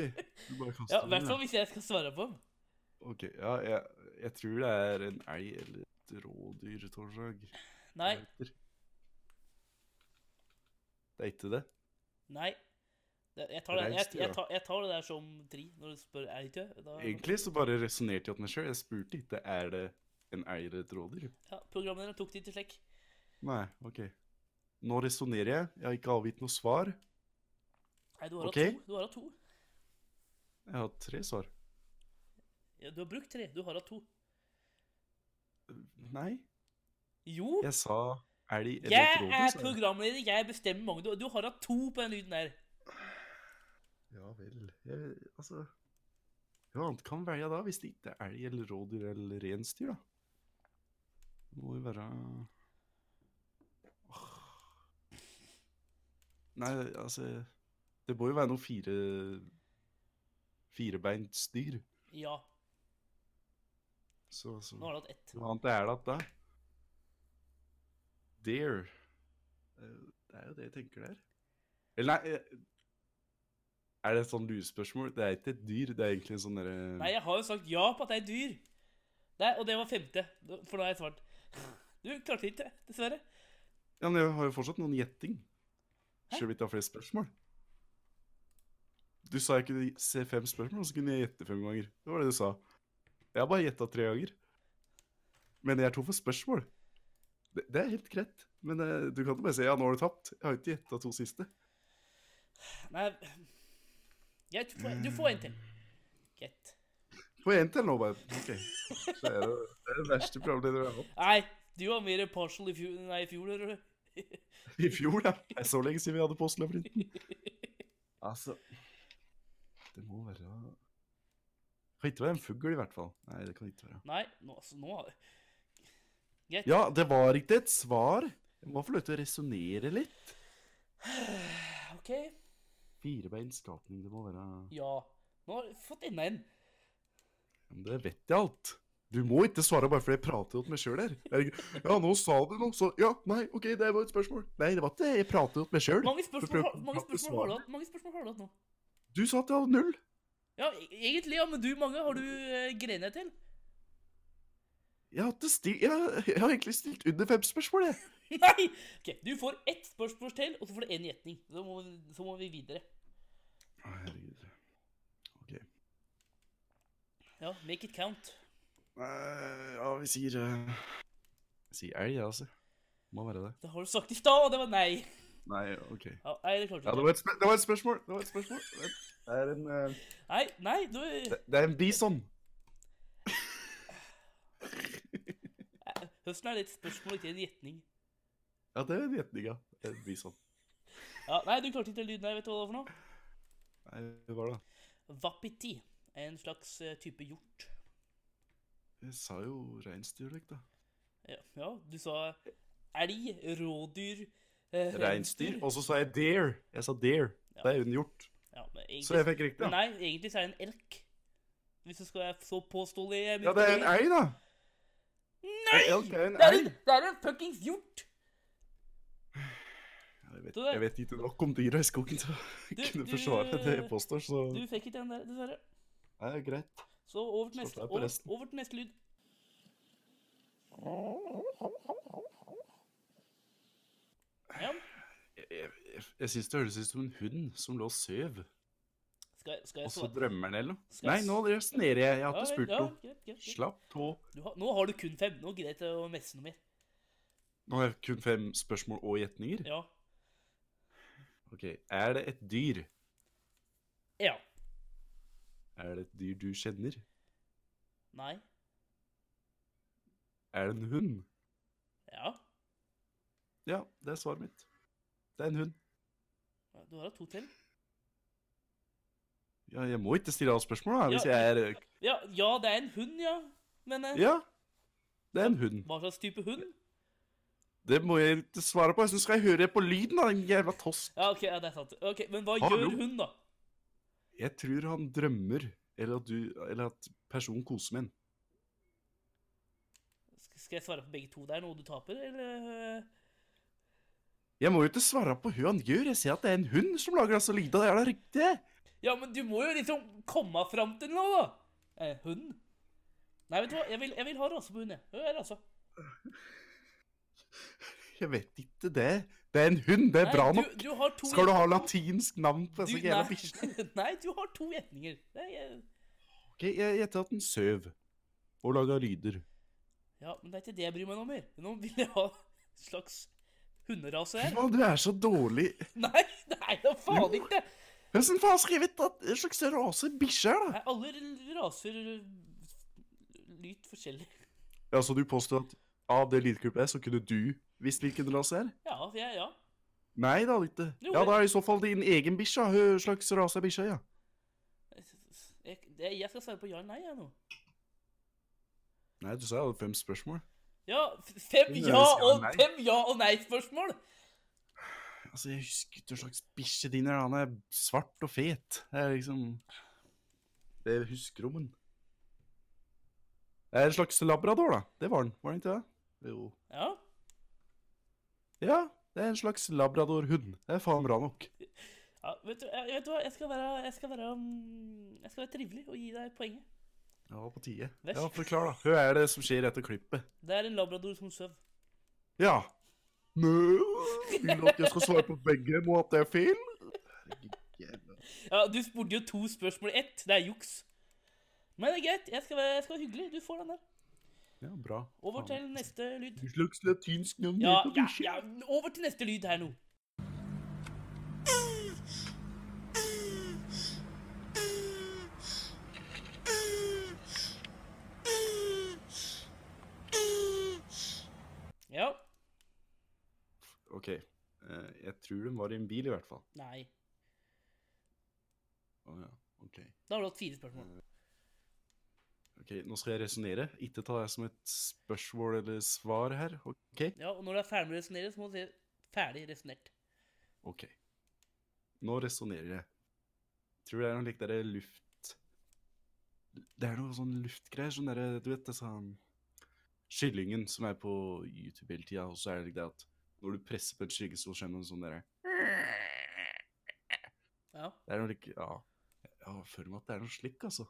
Du bare kaster Ja, I den, hvert fall ja. hvis jeg skal svare på dem. Ok, ja, jeg, jeg tror det er en elg eller et rådyr, Torsdag. Nei. Det er ikke det? Nei. Det- Jeg tar det, jeg, Reinsdyr, jeg, da. tar, jeg tar det der som tri når du spør er det ikke da, Egentlig så bare resonnerte jeg til meg sjøl. Jeg spurte ikke er det en elg eller et rådyr. ja, Programlederen tok det ikke slik. Nei, ok. Nå resonnerer jeg. Jeg har ikke avgitt noe svar. Nei, du har hatt Ok. to. Du har, hatt to. Jeg har tre svar. Ja, du har brukt tre. Du har hatt to. Nei, Jo, jeg sa elg eller jeg et er rådyr. sa jeg. programleder. Jeg bestemmer mange. Du, du har hatt to på den lyden der. Ja vel. Jeg, altså Hva annet kan velge da, hvis det ikke er elg eller rådyr eller reinsdyr, da? Det må jo være Åh. Nei, altså Det må jo være noe fire firebeinsdyr. Ja. Så, altså. så Nå har du hatt ett. Hva annet er det at det er? Deer. Det er jo- Eh, det er jo det jeg tenker der. Eller nei eh, Er det et sånn lurespørsmål? Det er ikke et dyr, det er egentlig en sånn derre Nei, jeg har jo sagt ja på at det er dyr. Nei, og det var femte, for da har jeg svart. Du klarte ikke, dessverre. Ja, men jeg har jo fortsatt noen gjetting. Hæ? Selv om jeg ikke har flere spørsmål. Du sa jeg kunne se fem spørsmål, og så kunne jeg gjette fem ganger. Det var det du sa. Jeg har bare gjetta tre ganger. Men jeg er tom for spørsmål. Det, det er helt greit. Men eh, du kan ikke bare si ja, nå har du tapt. Jeg har ikke gjetta to siste. Nei jeg, du, får, du får en til. Greit. På én til nå, bare. Ok. Så er det, det er det verste programlederen jeg har hatt. Nei, du var mer partial i fjor, nei, i fjor eller? I fjor, da. Det er så lenge siden vi hadde Postlabyrinten. Altså Det må være Det kan ikke være en fugl, i hvert fall. Nei, det kan ikke være. Nei, nå, altså, nå har Greit. Ja, det var ikke et svar. Jeg må få lov til å resonnere litt. OK. Firebeint skapning, det må være Ja. Nå har jeg fått enda en. Men det vet jeg alt. Du må ikke svare bare fordi jeg prater til meg sjøl her. Jeg, ja, nå sa du noe, så Ja, nei, OK, det var et spørsmål. Nei, det var ikke det. Jeg prater til meg sjøl. Mange spørsmål, har- prøv- mange prøv å spørsmål har du svare. hatt Mange spørsmål har du hatt nå. Du sa at jeg hadde null. Ja, e- egentlig, ja, men du, mange har du eh, grenet deg til? Jeg har, ikke sti jeg, jeg har egentlig stilt under fem spørsmål, jeg. Nei! Ok, Du får ett spørsmål til, og så får du én gjetning. Så må, så må vi videre. Å, Herregud. OK. Ja, make it count. Eh, ja, vi sier eh, Vi sier elg, jeg, altså. Må være det. Det har du sagt i stad, og det var nei. Nei, OK. Ja, nei, det klarte Ja, det du ikke. var et, spør det var et spørsmål. Det var et spørsmål. Det er en, eh, Nei, nei, du det, det er en bison. Høsten er det et spørsmål, ikke en gjetning. Ja, det er en gjetning, ja. En bison. Ja, nei, du klarte ikke lyden her, vet du hva det var for noe? Nei, hva var det? Vapiti. En slags eh, type hjort. Jeg sa jo reinsdyr, da. Ja, ja, du sa elg, rådyr eh, Reinsdyr. reinsdyr. Og så sa jeg deer. Jeg sa deer. Ja. Det er jo en hjort. Ja, men Så jeg egentlig, fikk riktig, ja. nei, egentlig så er det en elk. Hvis du skal være så påståelig eh, Ja, det er en elg, da. Nei! En elk er en det, er en, elg. det er en fuckings hjort! Ja, Jeg vet, Du- jeg vet ikke nok om dyra i skogen til Du- å kunne du- forsvare det jeg påstår, så Du fikk ikke den der, dessverre. det er greit. Så over til Slå neste, deg på over, resten. over til neste lyd. Ja, Jeg, jeg, jeg, jeg syns det høres ut som en hund som lå og søv, skal, jeg- skal og jeg så svare? drømmer den eller noe. Skal Nei, jeg s- nå resonnerer jeg. Jeg har Ja, ikke vel, spurt ja, noe. greit, greit, greit. Slapp av. Du har, nå har du kun fem. Nå greier jeg ikke å messe noe mer. Nå har jeg kun fem spørsmål og gjetninger. Ja. Ok, Er det et dyr? ja. Er det et dyr du kjenner? Nei. Er det en hund? Ja. Ja, det er svaret mitt. Det er en hund. Ja, Du har hatt to til. Ja, jeg må ikke stille alle spørsmål da, hvis Ja, jeg er eh, Ja, ja det er en hund, ja. Men eh, Ja, det er en hund. hva slags type hund? Det må jeg ikke svare på. Jeg syns skal jeg høre på lyden av den jævla tosk. Ja, ok, ja, det er sant. Ok, Men hva Hallo. gjør hun, da? Jeg tror han drømmer, eller at, du, eller at personen koser med en. Sk- Skal jeg svare på begge to? Det er noe du taper, eller? eh? Jeg må jo ikke svare på hva han gjør. Jeg ser at det er en hund som lager disse lydene. Er det riktig? Ja, men du må jo liksom komme fram til noe, da! Eh, hund? Nei, vet du hva, jeg vil, jeg vil ha rase på hund, jeg. altså. Jeg er rasa. Jeg vet ikke det. Det er en hund. Det er bra Nei, nok. du, du har to Skal du ha latinsk navn på disse jævla bikkjene? nei, nei, du har to gjetninger. Nei, jeg- Ok, Jeg gjetter at den søv og laga lyder. Ja, men det er ikke det jeg bryr meg noe om mer. Nå vil jeg ha en slags hunderase Fy her. faen, du er så dårlig. Nei, nei, da faen ikke! Hvordan faen har jeg skrevet at en slags rase bikkje er, da? Nei, alle r- raser lyt forskjellig. Ja, Så du påstår at av det lydklippet så kunne du visst hvilken rase det er? Ja, for jeg, ja. Nei, det hadde ikke. Jo, Ja, det- da er det i så fall din egen bikkje. Hø, slags rase er bikkja, ja. Jeg, det- jeg skal svare på ja eller nei, jeg nå. Nei, du sa jeg hadde fem spørsmål. Ja, f- fem Det ja høres ja og nei. fem ja og nei-spørsmål! Altså, jeg husker ikke hva slags bikkje din er. Han er svart og fet. Det er liksom Det er huskerommen. Det er en slags labrador, da. Det var den, var den ikke det? Jo. Ja. Ja, det er en slags labradorhund. Det er faen bra nok. Ja, vet du, jeg, vet du hva, jeg skal være, jeg skal være, mm, jeg skal være trivelig og gi deg poenget. Ja, på tide. Vær så- Ja, forklar, da. Hva er det som skjer etter klippet? Det er en labrador som søv. Ja. Mø Vil du at jeg skal svare på begge, må at det er feil? Herregud, jævla. Ja, du spurte jo to spørsmål i ett. Det er juks. Men det er greit. Jeg skal være, jeg skal være hyggelig. Du får den der. Ja, bra. Over Faen. til neste lyd. En slags latinsk navn Ja, heter ja, bikkje. ja. Over til neste lyd her nå. Ja. Ok, eh, jeg tror den var i en bil i hvert fall. Nei. Å ja, ok. Da har du hatt fire spørsmål. Ok, nå skal jeg resonere. Ikke ta det som et spørsmål eller svar her. Ok, Ja, og når du er ferdig med å resonnere, så må du si 'ferdig resonnert'. ok. Nå resonerer jeg. Tror det er noe likt der luft... Det er noe sånn luftgreier. Sånn derre Du vet det sånn Skyllingen som er på YouTube hele tida, og så er det det at når du presser på en skygge, så skjer det noe sånn derre Ja. Det er noe like Ja. Jeg føler meg at det er noe slik, altså.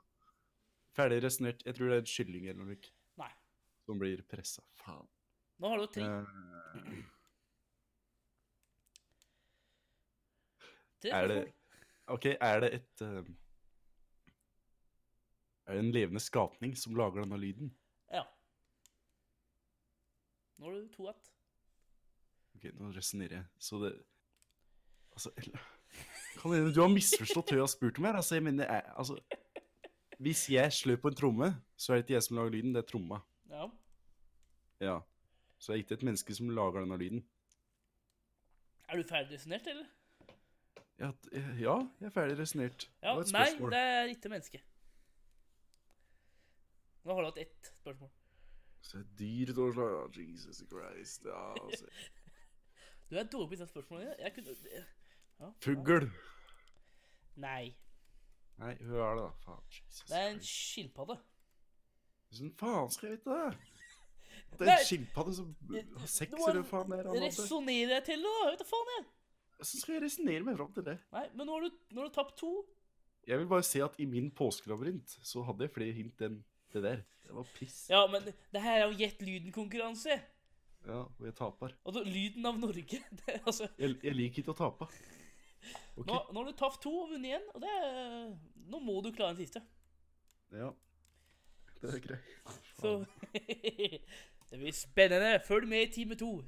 Ferdig resonnert. Jeg tror det er en kylling eller noe like, Nei. som blir pressa. Faen. Nå har du tre, Eh, tre er det- spørsmål. OK, er det et eh, Er det en levende skapning som lager denne lyden? Ja. Nå har du to ett. Ok, nå resonnerer jeg. Så det Altså, eller Kan hende du har misforstått hva jeg har spurt om her. Altså, jeg mener, jeg, altså Hvis jeg slår på en tromme, så er det ikke jeg som lager lyden, det er tromma. Ja. Ja. Så det er ikke et menneske som lager denne lyden. Er du ferdig resonert, eller? Ja, t- eh, ja jeg er ferdig resonnert. Ja, Det var et nei, spørsmål. det er ikke menneske. Nå har du hatt ett spørsmål. Så det er dyr til å slage Jesus Christ. Ja, altså. Du er dårlig på disse spørsmålene. Jeg kunne ja. Fugl. Nei. Nei, hva er det, da? Faen. Jesus Det er en Christ. skilpadde. Hvordan faen skal jeg vite det? Det er Nei. en skilpadde som har sex, Nå eller hva faen er det han hadde? Resonnerer jeg til det, da? Jeg vet da faen, jeg. Så skal jeg resonnere meg fram til det. Nei, men nå har du, nå har du tapt to. Jeg vil bare si at i min påskelabyrint så hadde jeg flere hint enn det der. Det var piss. Ja, Ja, men det her er jo Gjett lyden-konkurranse. og jeg taper. Og da- lyden av Norge det, er altså, Jeg, jeg liker ikke å tape. Ok, nå, nå har du tapt to og vunnet én, og det er Nå må du klare den siste. ja. Det er greit. Så Det blir spennende. Følg med i time to.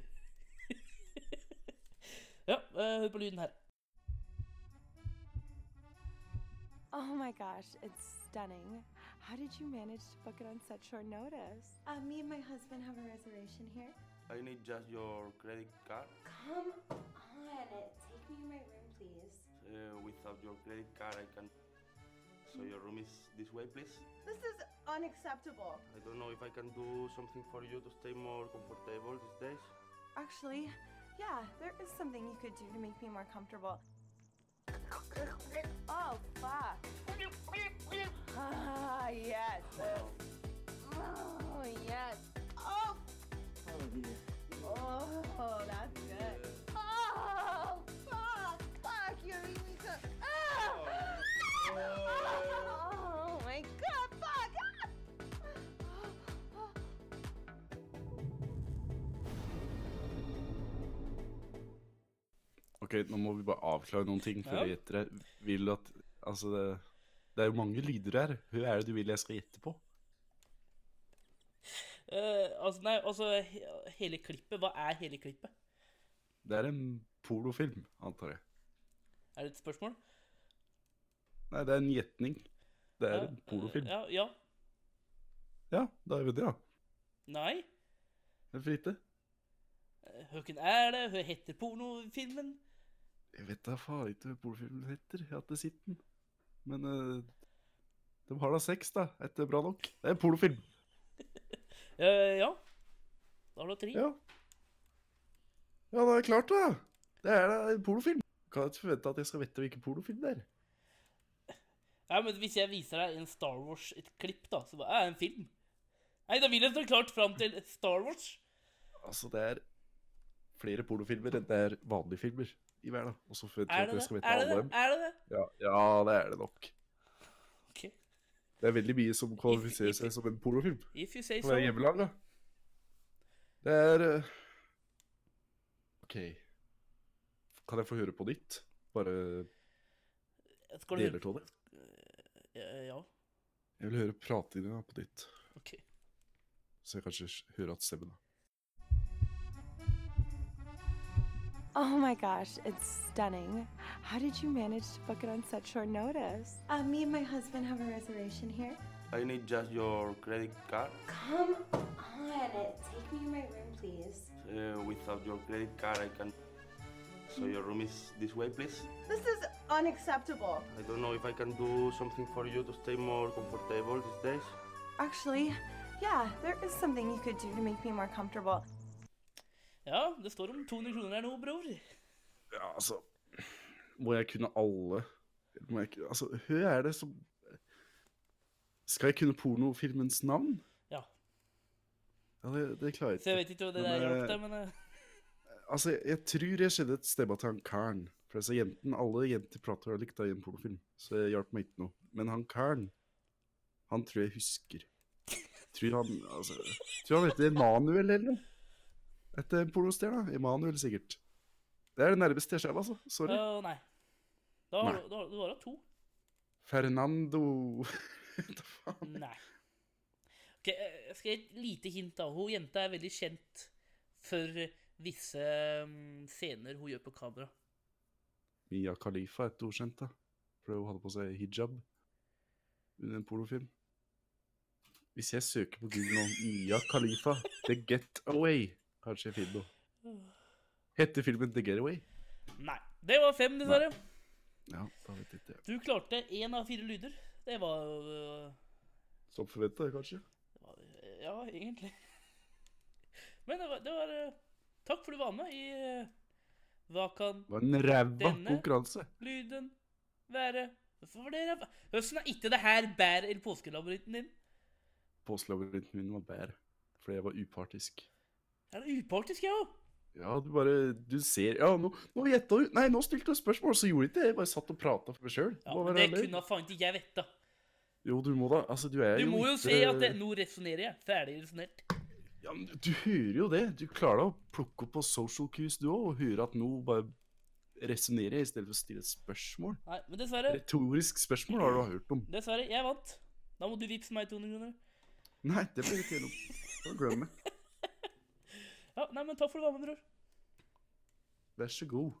ja, eh, hør på lyden her. Oh my gosh, it's stunning. How did you manage to book it on such short notice? Uh, me and my husband have a reservation here. I need just your credit card. Come on, take me to my room, please. Uh, without your credit card, I can. So your room is this way, please. This is unacceptable. I don't know if I can do something for you to stay more comfortable these days. Actually, yeah, there is something you could do to make me more comfortable. Oh, fuck. Ah, yes. Oh, yes. Oh! Oh, that's good. Oh, fuck! Fuck, you're eating so- Ah! Oh, my God, fuck! Ah! Ok, nå må vi bare avklare noen ting før Ja. jeg gjetter det. Vil du at Altså, det, det er jo mange lyder her. Hva er det du vil jeg skal gjette på? Eh, altså, nei, altså he, Hele klippet. Hva er hele klippet? Det er en pornofilm, antar jeg. Er det et spørsmål? Nei, det er en gjetning. Det er Ja, en pornofilm. Ja, ja. Ja, da er vi det, ja. Nei. Hvorfor ikke? Høken er det. Hva heter pornofilmen? Jeg vet da faen ikke hva pornofilmen heter. Jeg har ikke sett den. Men eh, de har da sex, da. Er ikke det bra nok? Det er en pornofilm. Eh, ja. Da har du tre. Ja. Ja, da er det klart, da. Det er da en pornofilm. Kan ikke forvente at jeg skal vite hvilken pornofilm det er. Nei, men Hvis jeg viser deg en Star Wars-klipp, da, så bare, er det en film. Nei, da vil jeg stå klart fram til Star Wars. Altså, det er flere pornofilmer enn det er vanlige filmer i verden. Og så forventer Er jeg at det jeg skal det? vite Er det alle det? dem. Er det det? Ja, ja, det er det nok. Ok. Det er veldig mye som kvalifiserer seg som en pornofilm. If you say På so. det hjemmelaget. Det er eh, OK. Kan jeg få høre på nytt? Bare Skal du deler høre på? av det? Eh, Ja, Jeg vil høre prateinga på nytt. ok. Så jeg kanskje s- hører at stemmen da. Oh my gosh, it's stunning. How did you manage to book it on such short notice? Uh, me and my husband have a reservation here. I need just your credit card. Come on, take me to my room, please. Uh, without your credit card, I can. So your room is this way, please. This is unacceptable. I don't know if I can do something for you to stay more comfortable these days. Actually, yeah, there is something you could do to make me more comfortable. Ja, det står om 200 kroner her nå, bror. Ja, altså Må jeg kunne alle? Eller Må jeg, ikke- altså, hva er det som Skal jeg kunne pornofilmens navn? Ja. Ja, det, det klarer jeg Så jeg ikke. vet ikke hva det Men, der hjalp eh, deg, men eh, Altså, jeg, jeg tror jeg skjedde et sted at han karen For altså, jenten, alle jenter prater jo likt da i en pornofilm, så det hjalp meg ikke noe. Men han karen, han tror jeg husker. Tror han altså, Tror han heter Emanuel eller noe? Etter pornostjerna. Emanuel, sikkert. Det er det nærmeste jeg skjev, altså. Sorry. øh, Nei. Da har Nei. du- da har du bare to. Fernando Hva faen? Nei. Ok, eh, jeg skal gi et lite hint. da. Hun jenta er veldig kjent for visse mm, scener hun gjør på kamera. Mia Khalifa er et ord kjent, da. Fordi hun hadde på seg hijab under en pornofilm. Hvis jeg søker på Google nå Mia Khalifa, The Getaway, kanskje jeg finner noe. Heter filmen The Getaway? Nei. Det var fem, dessverre. Ja, da vet jeg ikke. Du klarte én av fire lyder. Det var øh, Som forventa, kanskje. det var, øh, Ja, egentlig. Men det var, det var øh, Takk for du var med i øh, Hva kan Det var en ræva Denne- konkurranse. lyden være Hvorfor var det ræva? Høsten er ikke det her bær eller påskelabyrinten din. Påskelabyrinten min var bedre, fordi jeg var upartisk. Er det upartisk, jeg òg? Ja, du bare Du ser Ja, nå, nå gjetta du Nei, nå stilte du spørsmål, så gjorde jeg ikke det. Jeg bare satt og prata for meg sjøl. Ja, men det kunne faen ikke jeg vite. Jo, du må da Altså, du er Du jo må jo ikke- se at det, nå resonnerer jeg. Ferdig resonnert. Ja, men du- du hører jo det. Du klarer da å plukke opp på social cues du òg, og høre at noe bare resonnerer i stedet for å stille et spørsmål. Nei, men dessverre. Retorisk spørsmål har du hørt om. Dessverre, jeg vant. Da må du vippse meg 200 kroner. Nei, det blir ikke gjennom. Da glemmer jeg. Ja, nei, men takk for at du var med, bror. Vær så god.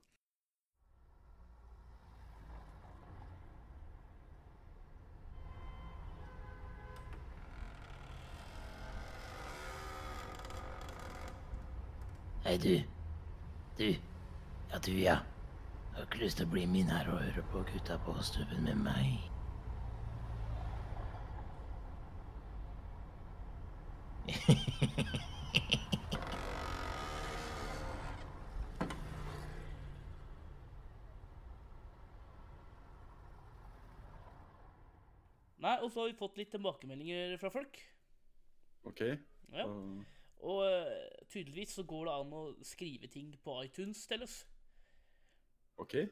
Hei, du. Du. Ja, du, ja. Jeg har ikke lyst til å bli min her og høre på gutta på stubben med meg. Nei, og så har vi fått litt tilbakemeldinger fra folk. OK. Ja. da- Og eh, tydeligvis så går det an å skrive ting på iTunes til oss. OK. Jeg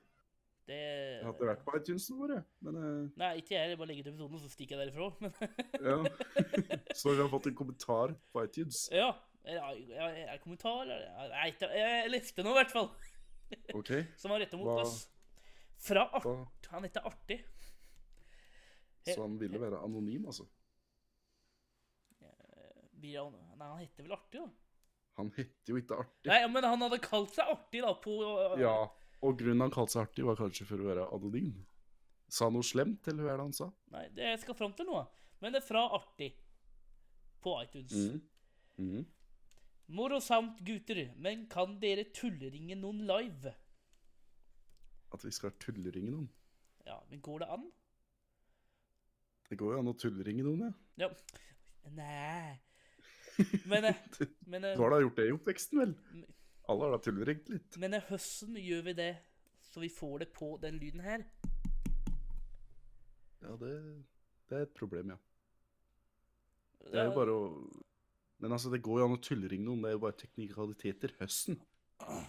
Det hadde vært på iTunesen vår, jeg. Men eh, Nei, ikke jeg. Jeg bare legger ut episoden, og så stikker jeg derifra. Men ja. Så vi har fått en kommentar på iTunes. ja. Er det- er det kommentar? Er det- Nei, ikke- jeg leste noe, i hvert fall. OK. Som var retta mot Hva- oss. Fra Art... Da, Han heter Artig. så han ville være anonym, altså. Blir han... Nei, han heter vel Artig, da? Han heter jo ikke Artig. Nei, ja, men han hadde kalt seg Artig, da, på Ja, og grunnen han kalte seg Artig, var kanskje for å være anonym. Sa han noe slemt, eller hva er det han sa? Nei, det jeg skal fram til noe. Men det er fra Artig. På iTunes. Mm. Mm. Morosamt, gutter, men kan dere tulleringe noen live? At vi skal tulleringe noen. Ja, men går det an? Det går jo an å tulleringe noen, ja. Ja. Nei Men eh, Men, eh, Du har da gjort det i oppveksten, Mm. vel? Alle har da tulleringt litt. men eh, høsten gjør vi det, så vi får det på den lyden her. Ja, det, det er et problem, ja. Det er jo bare å Men altså, det går jo an å tulleringe noen, det er jo bare teknikaliteter. Høsten. Eh,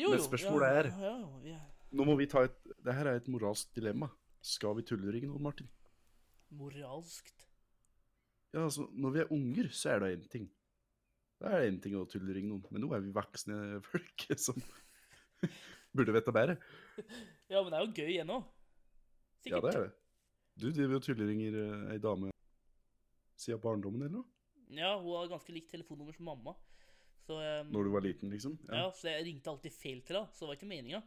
Jo, men jo, spørsmålet ja, er- Ja, ja, Nå må vi ta et Det her er et moralsk dilemma. Skal vi tulleringe noen, Martin? moralskt. Ja, altså, når vi er unger, så er det én ting. Da er det én ting å tulleringe noen. Men nå er vi voksne folk som burde vite bedre. Ja, men det er jo gøy ennå. Ja, det er det. Du driver og tulleringer eh, ei dame siden barndommen, eller noe? Mm. Ja, hun har ganske likt telefonnummer som mamma. Så, ehm, Når du var liten, liksom? ja. så jeg ringte alltid feil til henne, så det var ikke meninga.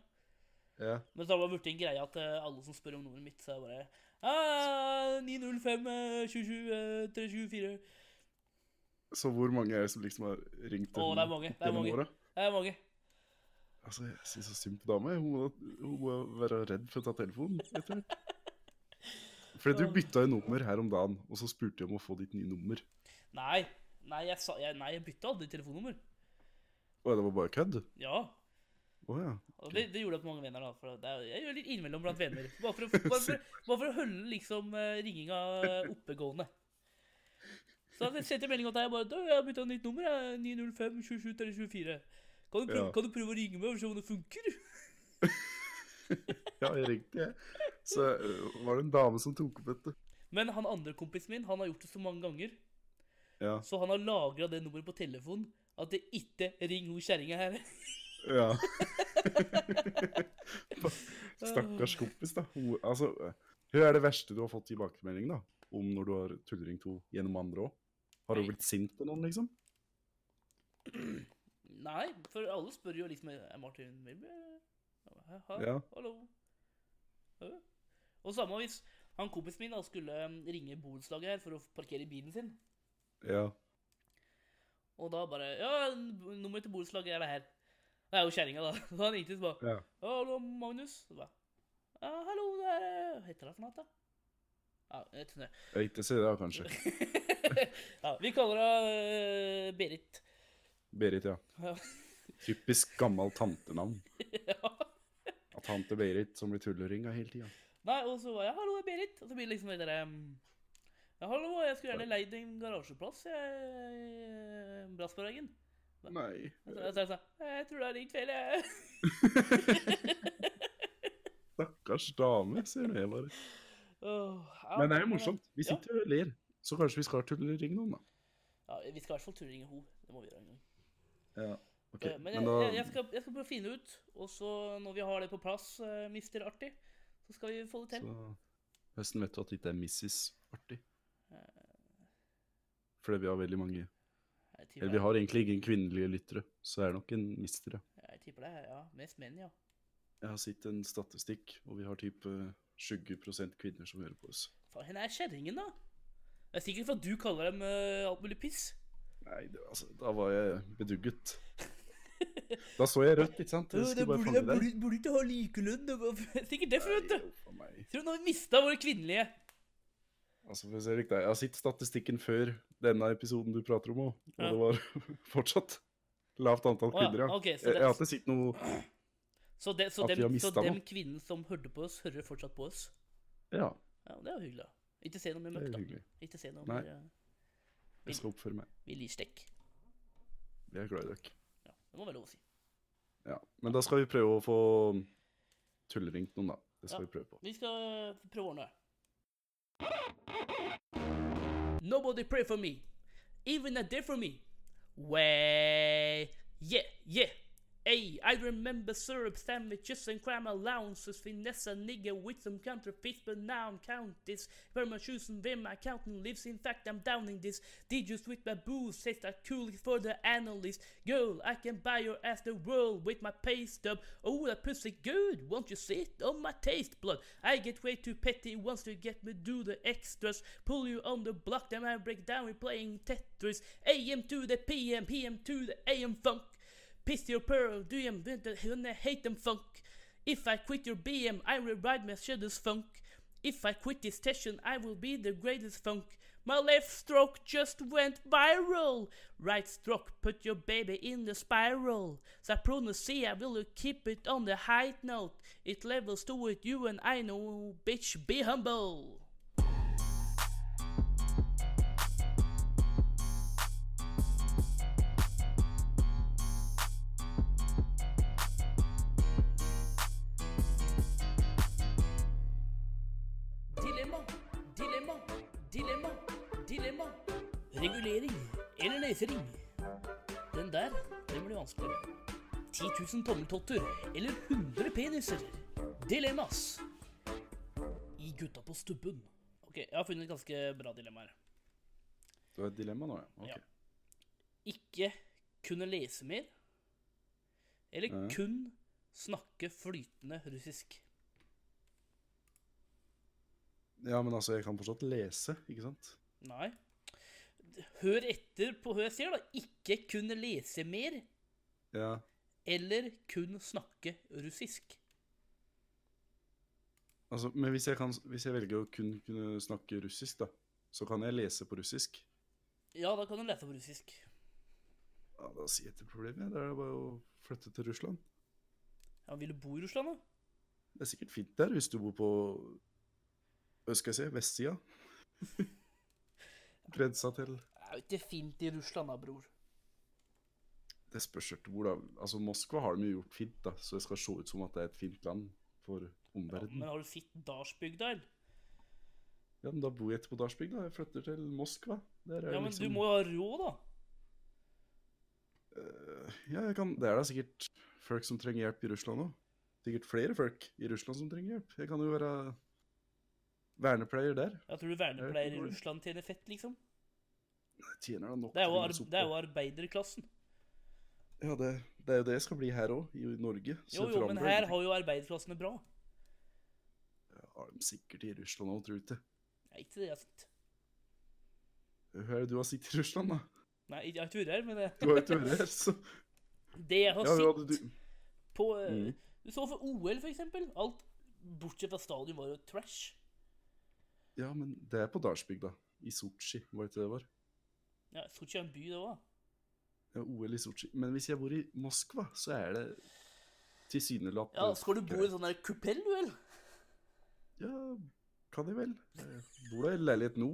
Ja. Men så har det bare blitt en greie at eh, alle som spør om nummeret mitt, så er det bare «Ah, 905 eh, 27 eh, 324 Så hvor mange er det som liksom har ringt Å, det er mange. Det er gjennom mange. året? Det er mange. Altså, jeg synes så synd på dama. jeg. Hun, må- hun må være redd for å ta telefonen etter hvert. Fordi du bytta jo nummer her om dagen, og så spurte jeg om å få ditt nye nummer. Nei, nei jeg, sa, jeg, nei, jeg bytta aldri telefonnummer. Og det var bare kødd? Ja. Å ja. Og det, det gjorde jeg på mange venner. da for det er, Jeg gjør litt innimellom blant venner. Bare for å, bare for, bare for å holde liksom eh, ringinga oppegående. Så jeg sendte melding til deg bare «Du, 'Jeg har bytta nytt nummer. jeg. 905 27 324 Kan du prøve, Ja. kan du prøve å ringe meg og se om det funker?' Ja, jeg ringte, jeg. Så øh, var det en dame som tok opp dette. Men han andre kompisen min han har gjort det så mange ganger, Ja. så han har lagra det nummeret på telefonen at det ikke ringer hun kjerringa her. ja. Stakkars kompis, da. Hun, altså, øh, hva er det verste du har fått tilbakemelding da? om når du har tullringt henne gjennom andre òg? Har hun blitt sint på noen, liksom? Nei, for alle spør jo liksom Er Martin Wilby? Hæ? Hæ? Ja. Hallo? Hæ? Og samme hvis han kompisen min da skulle um, ringe borettslaget her for å parkere bilen sin. Ja. Og da bare Ja, n- nummeret til borettslaget er det her. Det er jo kjerringa, da. Så han ringte og bare Ja. ja. 'Hallo, Magnus?' Og ba, ja, 'Hallo, det er Hva heter det for noe, da?' Ja, jeg vet ikke. Ja, Ikke si det, da, kanskje. ja, vi kaller henne eh, Berit. Berit, ja. Ja. Typisk gammel tantenavn. ja. Av tante Berit som blir tulleringa hele tida. Nei, og så var jeg 'hallo, det er Berit'. Og så blir det liksom det derre um, ja, 'Hallo, jeg skulle gjerne leid en garasjeplass jeg, eh, i Brassbergen'. Nei. Så jeg sa jeg sånn, Jeg tror det er ringt feil, jeg. Stakkars dame, sier nå jeg bare. Åh, ja, Men det er jo morsomt. Vi ja. sitter jo og ler. Så kanskje vi skal tulleringe noen, da. Ja, vi skal i hvert fall turringe henne. Det må vi gjøre en gang. Ja, ok. Eh, Men jeg, Men da jeg, jeg, skal, jeg skal prøve å finne ut, og så når vi har det på plass, eh, mister Artig, så skal vi få det til. så, Høsten vet du at det ikke er Mrs. Artig. Fordi vi har veldig mange Jeg tipper Eller det- vi har egentlig ingen kvinnelige lyttere, så det er nok en mister, ja. Jeg tipper det, ja. Mest menn, ja. Jeg har sett en statistikk, og vi har type 20 kvinner som hører på oss. Faen, henne er kjerringen, da. Det er sikkert for at du kaller dem eh, alt mulig piss. Nei, det, altså, da var jeg bedugget. Da så jeg rødt, ikke sant? Jeg Ja, det skulle bare burde, fange jeg deg. burde, burde ikke ha likelønn. det var- Sikkert derfor, vet du. meg. Tror du nå har vi mista våre kvinnelige? Altså, for å si det riktig, jeg har sett statistikken før denne episoden du prater om òg, og Ja. det var fortsatt lavt antall Å ja, kvinner, ja. ok, så jeg, det- jeg har ikke sett noe Så, de, så, At vi dem, har så mistet dem noe. kvinnen som hørte på oss, hører fortsatt på oss? Ja, Ja, Det er jo hyggelig. da. Ikke se noe mer Det er møkk, da. hyggelig. Ikke se noe Nei. mer eh, jeg skal oppføre meg. Vi liker stekk. Vi er glad i dere. Ja, det må være lov å si. Ja. Men da skal vi prøve å få tulleringt noen, da. Det skal Ja. vi prøve på. Vi skal eh, prøve å ordne det. Nobody pray for me. Even a day for me. Way. Yeah, yeah. Hey, I remember syrup sandwiches and crime allowances. Finesse a nigga with some counterfeits, but now I'm countless. Where my shoes and where my accountant lives. In fact, I'm downing this. Digits with my booze says that cool is for the analyst. Girl, I can buy your ass the world with my pay stub. Oh, that pussy good. Won't you sit on my taste blood? I get way too petty wants to get me do the extras. Pull you on the block, then I break down. We're playing Tetris. AM to the PM, PM to the AM funk. Piss your pearl, do you wanna hate them funk? If I quit your BM, I will ride my shadows funk. If I quit this session, I will be the greatest funk. My left stroke just went viral. Right stroke put your baby in the spiral. Sapronosia will you keep it on the high note. It levels to it, you and I know, bitch, be humble. Dilemma, dilemma, dilemma, dilemma. Regulering eller nesering? Den der, den blir vanskeligere. 10 000 tommeltotter eller 100 peniser? Dilemmas. I gutta på stubben. Ok, jeg har funnet et ganske bra dilemma her. Det var et dilemma nå, ja. Ja. Ok. Ikke kunne lese mer, eller Ja. kun snakke flytende russisk. Ja, men altså, jeg kan fortsatt lese, ikke sant? Nei. Hør etter på hva jeg sier, da. Ikke kunne lese mer, Ja. eller kun snakke russisk. Altså, men hvis jeg, kan, hvis jeg velger å kun kunne snakke russisk, da, så kan jeg lese på russisk. Ja, da kan du lese på russisk. Ja, Da sier jeg til problemet. Da er det bare å flytte til Russland. Ja, Vil du bo i Russland, da? Det er sikkert fint der hvis du bor på hva skal jeg si, vestsida. Grensa til Det er jo ikke fint i Russland, da, bror. Det spørs helt hvor, da. Altså, Moskva har de jo gjort fint, da, så det skal se ut som at det er et fint land for omverdenen. Men har du fitt Dalsbygd, da? eller? Ja, men da bor jeg ikke på Dalsbygd, da. Jeg flytter til Moskva. Der er Ja, jo men du liksom- må jo ha råd, da. Eh, Ja, jeg kan... det er da sikkert folk som trenger hjelp i Russland òg. Sikkert flere folk i Russland som trenger hjelp. Jeg kan jo være vernepleier der. Jeg tror du Jeg vet vernepleier ikke i hvor. Russland tjener fett, liksom. Jeg tjener da nok Det er jo, til å ar soppe. det er jo arbeiderklassen. Ja, det, det er jo det jeg skal bli her òg, i Norge. Så Jo, det jo, men forandrer her ingenting. har jo arbeiderklassen det bra. Har de sikkert i Russland òg, tror du ikke? Nei, ikke det jeg har sett. Hva er det du har sett i Russland, da? Nei, jeg har ikke vært her, men eh, Du har jo ikke vært her, så Det jeg har Ja, hva hadde sett du på eh, Mhm. Du så for OL, for eksempel. Alt bortsett fra stadion var jo trash. Ja, men det er på Dalsbygda. I Sotsji, var det ikke det det var? Ja, Sotsji er en by, det òg. Ja, OL i Sotsji. Men hvis jeg bor i Moskva, så er det tilsynelatende Ja, skal du bo i en sånn der kupell, du, eller? Ja, kan jeg vel. Jeg bor da i leilighet nå.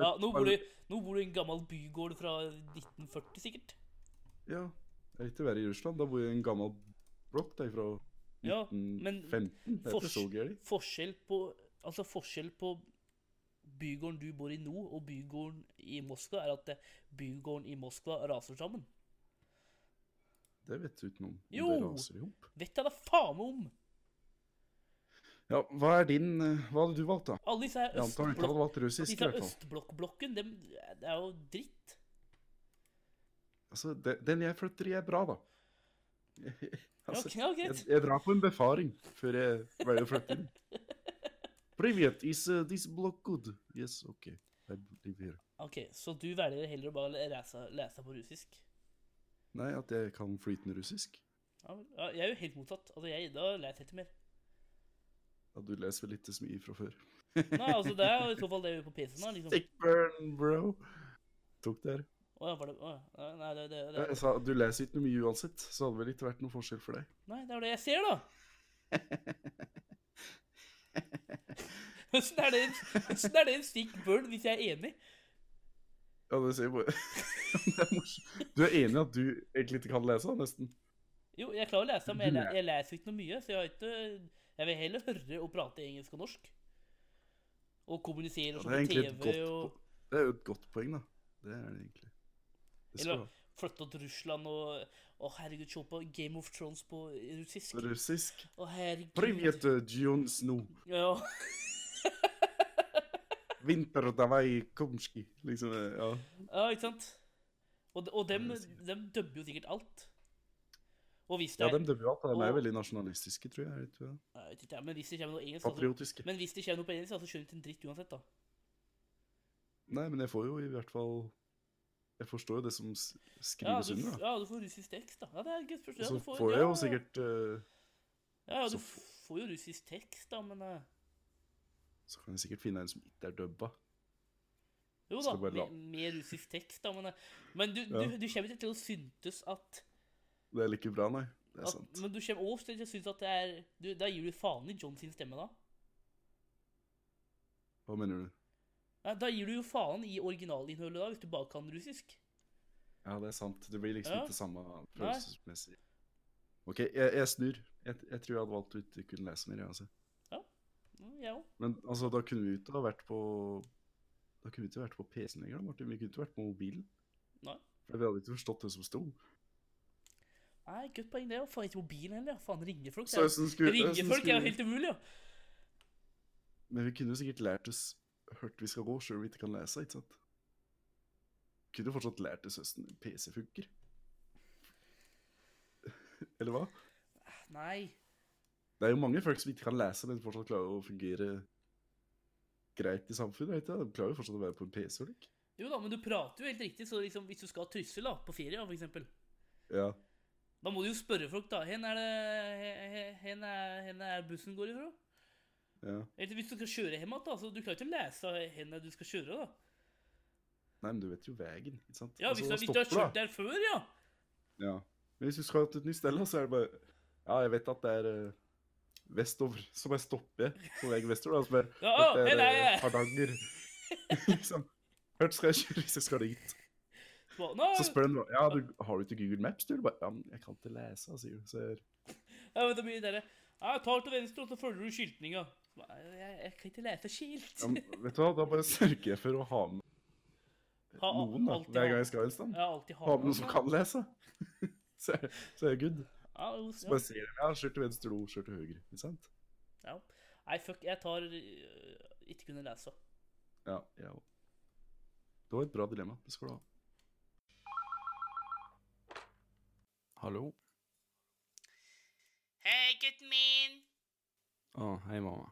Ja, jeg- nå bor, du, nå bor du i en gammel bygård fra 1940, sikkert. Ja, jeg vil ikke være i Russland. Da bor jeg i en gammel blokk der fra Ja, 1915. det er ikke så gærent. forskjell på Altså forskjell på bygården du bor i nå, og bygården i Moskva, er at eh, bygården i Moskva raser sammen. Det vet du ikke noe om. Jo! Det raser ihop. Vet jeg da faen om! Ja, hva er din eh, Hva hadde du valgt, da? Alle disse her Jeg antar du ikke hadde valgt russisk, i disse hvert fall. østblokkblokken, dem, det er jo dritt. Altså, de- den jeg flytter i, er bra, da. Altså, ok, ja, greit. jeg, jeg drar på en befaring før jeg velger å flytte inn. Привет, is uh, this block good? Yes, ok. I live here. Ok, Så du velger heller å bare lese, lese på russisk? Nei, at jeg kan flytende russisk? Ja, vel. Ja, jeg er jo helt motsatt. Altså, jeg, Da leser jeg ikke mer. Ja, du leser vel ikke så mye fra før. Nei, altså, Det er jo i så fall det vi gjør på PC-en. da, liksom. Stickburn, bro. Tok det her. Å, ja, var det, å, ja. Nei, det, det, Ja, det. jeg sa, du leser ikke noe mye uansett, så hadde vel ikke vært noen forskjell for deg. Nei, det er jo det jeg ser, da. Åssen er det en, hvordan er det en stikk burn hvis jeg er enig? Ja, det sier bare... det er morsomt. Du er enig i at du egentlig ikke kan lese, nesten? Jo, jeg klarer å lese, men jeg, le- jeg leser jo ikke noe mye. Så jeg har ikke Jeg vil heller høre og prate engelsk og norsk. Og kommunisere Ja, og det se på er egentlig et TV godt og Det er jo et godt poeng, da. Det er det egentlig. Det skal Eller du ha. flytte til Russland og Å, herregud, se på Game of Thrones på russisk. Russisk. Å, herregud. Привет, э, Джон Сноу. Ja, Vinter, давай, Komsky. Liksom, eh, ja. ja, ikke sant? Og, og dem, dem dubber jo sikkert alt. Og hvis det ja, er de dubber jo alt. og De er og- veldig nasjonalistiske, tror jeg. er det ikke det? Nei, jeg vet ikke, men hvis det kommer noe engelsk Patriotiske. Altså, men hvis det kommer noe på engelsk, da, så skjønner du ikke en dritt uansett, da. Nei, men jeg får jo i hvert fall Jeg forstår jo det som s- Ja, skrives du, under, da. ja, du får russisk tekst, da. Ja, det er gøy spørsmål. Og Ja, så du får jeg ja, jo sikkert eh, Ja, ja, du så f- får jo russisk tekst, da, men eh, Så kan jeg sikkert finne en som ikke er dubba. Jo da, Skal bare la- mer, mer russisk tekst, da, men eh, Men du, Ja. du, du kommer ikke til å syntes at, Det er like bra, nei. Det er at sant. Men du kommer også til å synes at det er du, Da gir du faen i John sin stemme, da. Hva mener du? Nei, da gir du jo faen i originalinnholdet, da, hvis du bare kan russisk. Ja, det er sant. Det blir liksom Ja. ikke samme følelsesmessig. OK, jeg, jeg snur. Jeg, jeg tror jeg hadde valgt å ikke kunne lese mer, jeg, altså. Mm, Jeg òg. Men altså, da kunne vi jo ikke ha vært på Da kunne vi ikke vært på PC-en lenger, da, Martin. Vi kunne ikke vært på mobilen. Nei. For vi hadde ikke forstått det som sto. Nei, godt poeng, det. Og faen ikke mobilen heller. ja. Faen, ringe folk. Så det er- hvordan skulle- ringe hvordan folk er jo skulle- helt umulig, ja. Men vi kunne jo sikkert lært oss hørt vi skal gå, sjøl om vi ikke kan lese, ikke sant? Kunne jo fortsatt lært oss hvordan en PC funker. Eller hva? Nei. Det er jo mange folk som ikke kan lese, men fortsatt klarer å fungere greit i samfunnet. Vet jeg. De klarer jo fortsatt å være på en PC. eller ikke? Jo da, men du prater jo helt riktig, så liksom, hvis du skal til Trysil da, på ferie, da, for eksempel, Ja. da må du jo spørre folk, da. Hen er det he- he- hen er, hen er bussen går ifra? ja. Eller hvis du skal kjøre hjem igjen, da, så du klarer ikke å lese hen er du skal kjøre, da. Nei, men du vet jo veien, ikke sant? Ja, Altså, hvis, du, da hvis du har stopper kjørt der før, ja. Ja. Men hvis du skal til et nytt sted, da, så er det bare Ja, jeg vet at det er eh, vestover som jeg stopper på vei vestover. Da, som er, Ja, at det er hei, eh, hei. Hardanger. liksom. Hørt skal jeg kjøre hvis jeg skal dit. Hva? Nå, Så spør han ja, du, har du ikke Google Maps. Du? Jeg Bare, ja, men jeg kan ikke lese, sier du. Så jeg, ja, men det blir det der. Ja, tar til venstre, og så følger du skiltninga. Så bare, Jeg, jeg kan ikke lese skilt. ja, men vet du hva, da bare sørger jeg for å ha med Ha- noen da, alltid hver gang ha- jeg skal et sted. Ja, alltid ha Ha med noen. noen som kan lese. så, er- så er jeg good. Ja, jo, Så ja. bare sier de ja, kjør til venstre, lo, kjør til høyre. Ikke sant? Ja. Nei, fuck, jeg tar øh, ikke kunne lese. Ja, jeg òg. Det var et bra dilemma. Det skal du ha. Hallo. Hei, gutten min. Å, hei, mamma.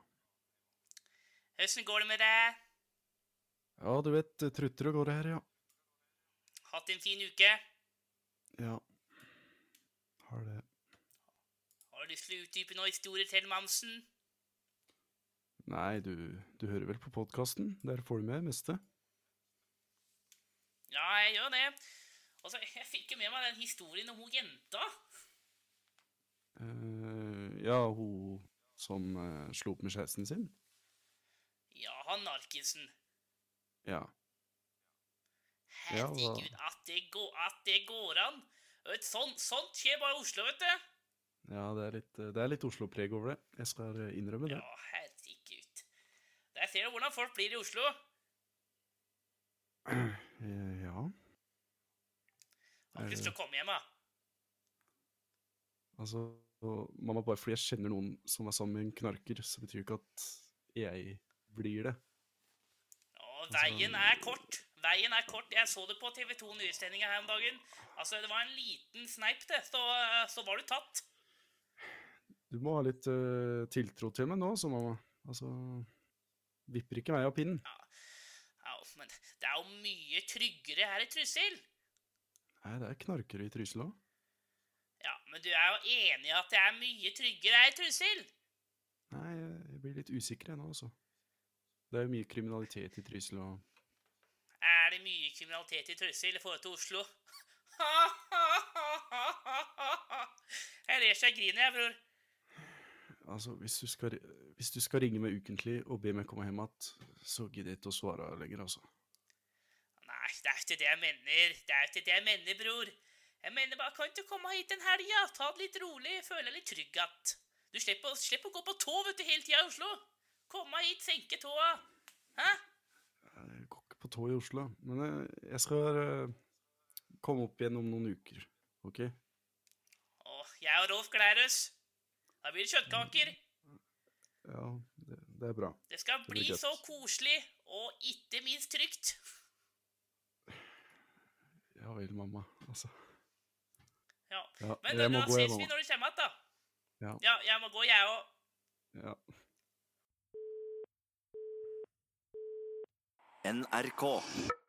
Hvordan går det med deg? Ja, du vet, eh, trutter og går her, ja. Hatt en fin uke? Ja. Har det Har du lyst til å utdype noen historier til mamsen? Nei, du, du hører vel på podkasten? Der får du med det meste. Ja, jeg gjør det. Altså, jeg fikk jo med meg den historien om hun jenta. Eh, ja, hun som eh, slo opp med kjæresten sin? Ja, han narkisen. Ja. Ja, hva- Herregud, at det, går, at det går an. Vet, sånt, sånt skjer bare i Oslo, vet du. ja, det er litt, eh, det er litt Oslo-preg over det. Jeg skal eh, innrømme det. Ja, herregud. Der ser du hvordan folk blir i Oslo. Eh, ja. Har ikke lyst til å komme hjem, da. Altså, og mamma, bare fordi jeg kjenner noen som er sammen med en knarker, så betyr jo ikke at jeg blir det. Og veien er kort. Veien er kort. Jeg så det på TV 2 Nyhetssendinga her om dagen. Altså, det var en liten sneip, det. Så, eh, så var du tatt. Du må ha litt eh, tiltro til meg nå, så mamma. Altså, vipper ikke meg av pinnen. Ja, men det er jo mye tryggere her i Trussel. Nei, det er knarkere i Trysil òg. Ja, men du er jo enig i at det er mye tryggere her i Trussel? Nei, jeg jeg blir litt usikker jeg nå, altså. Det er jo mye kriminalitet i Trysil og Er det mye kriminalitet i Trussel i forhold til Oslo? Jeg ler så jeg griner, jeg, bror. Altså, hvis du, skal, hvis du skal ringe meg ukentlig og be meg komme hjem igjen, så gidder jeg ikke å svare lenger, altså. Nei, det er ikke det jeg mener. Det er ikke det jeg mener, bror. Jeg mener bare, kan du ikke komme hit en helg, ja? Ta det litt rolig, føle deg litt trygg att. Du slipper, å- slipper å gå på tå, vet du, hele tida i Oslo. Komme hit, senke tåa. Hæ? Jeg går ikke på tå i Oslo, men eh, jeg skal eh, komme opp igjen om noen uker, OK? Å, jeg og Rolf Glærøs. Da blir det kjøttkaker. Ja, det, det er bra. Det skal Det blir bli godt. så koselig, og ikke minst trygt. Ja vel, mamma. Altså. Ja. Ja, Men da, jeg må da gå, jeg, ses vi mamma. når du kommer igjen, da. Ja. Ja, jeg må gå, jeg òg. ja. NRK.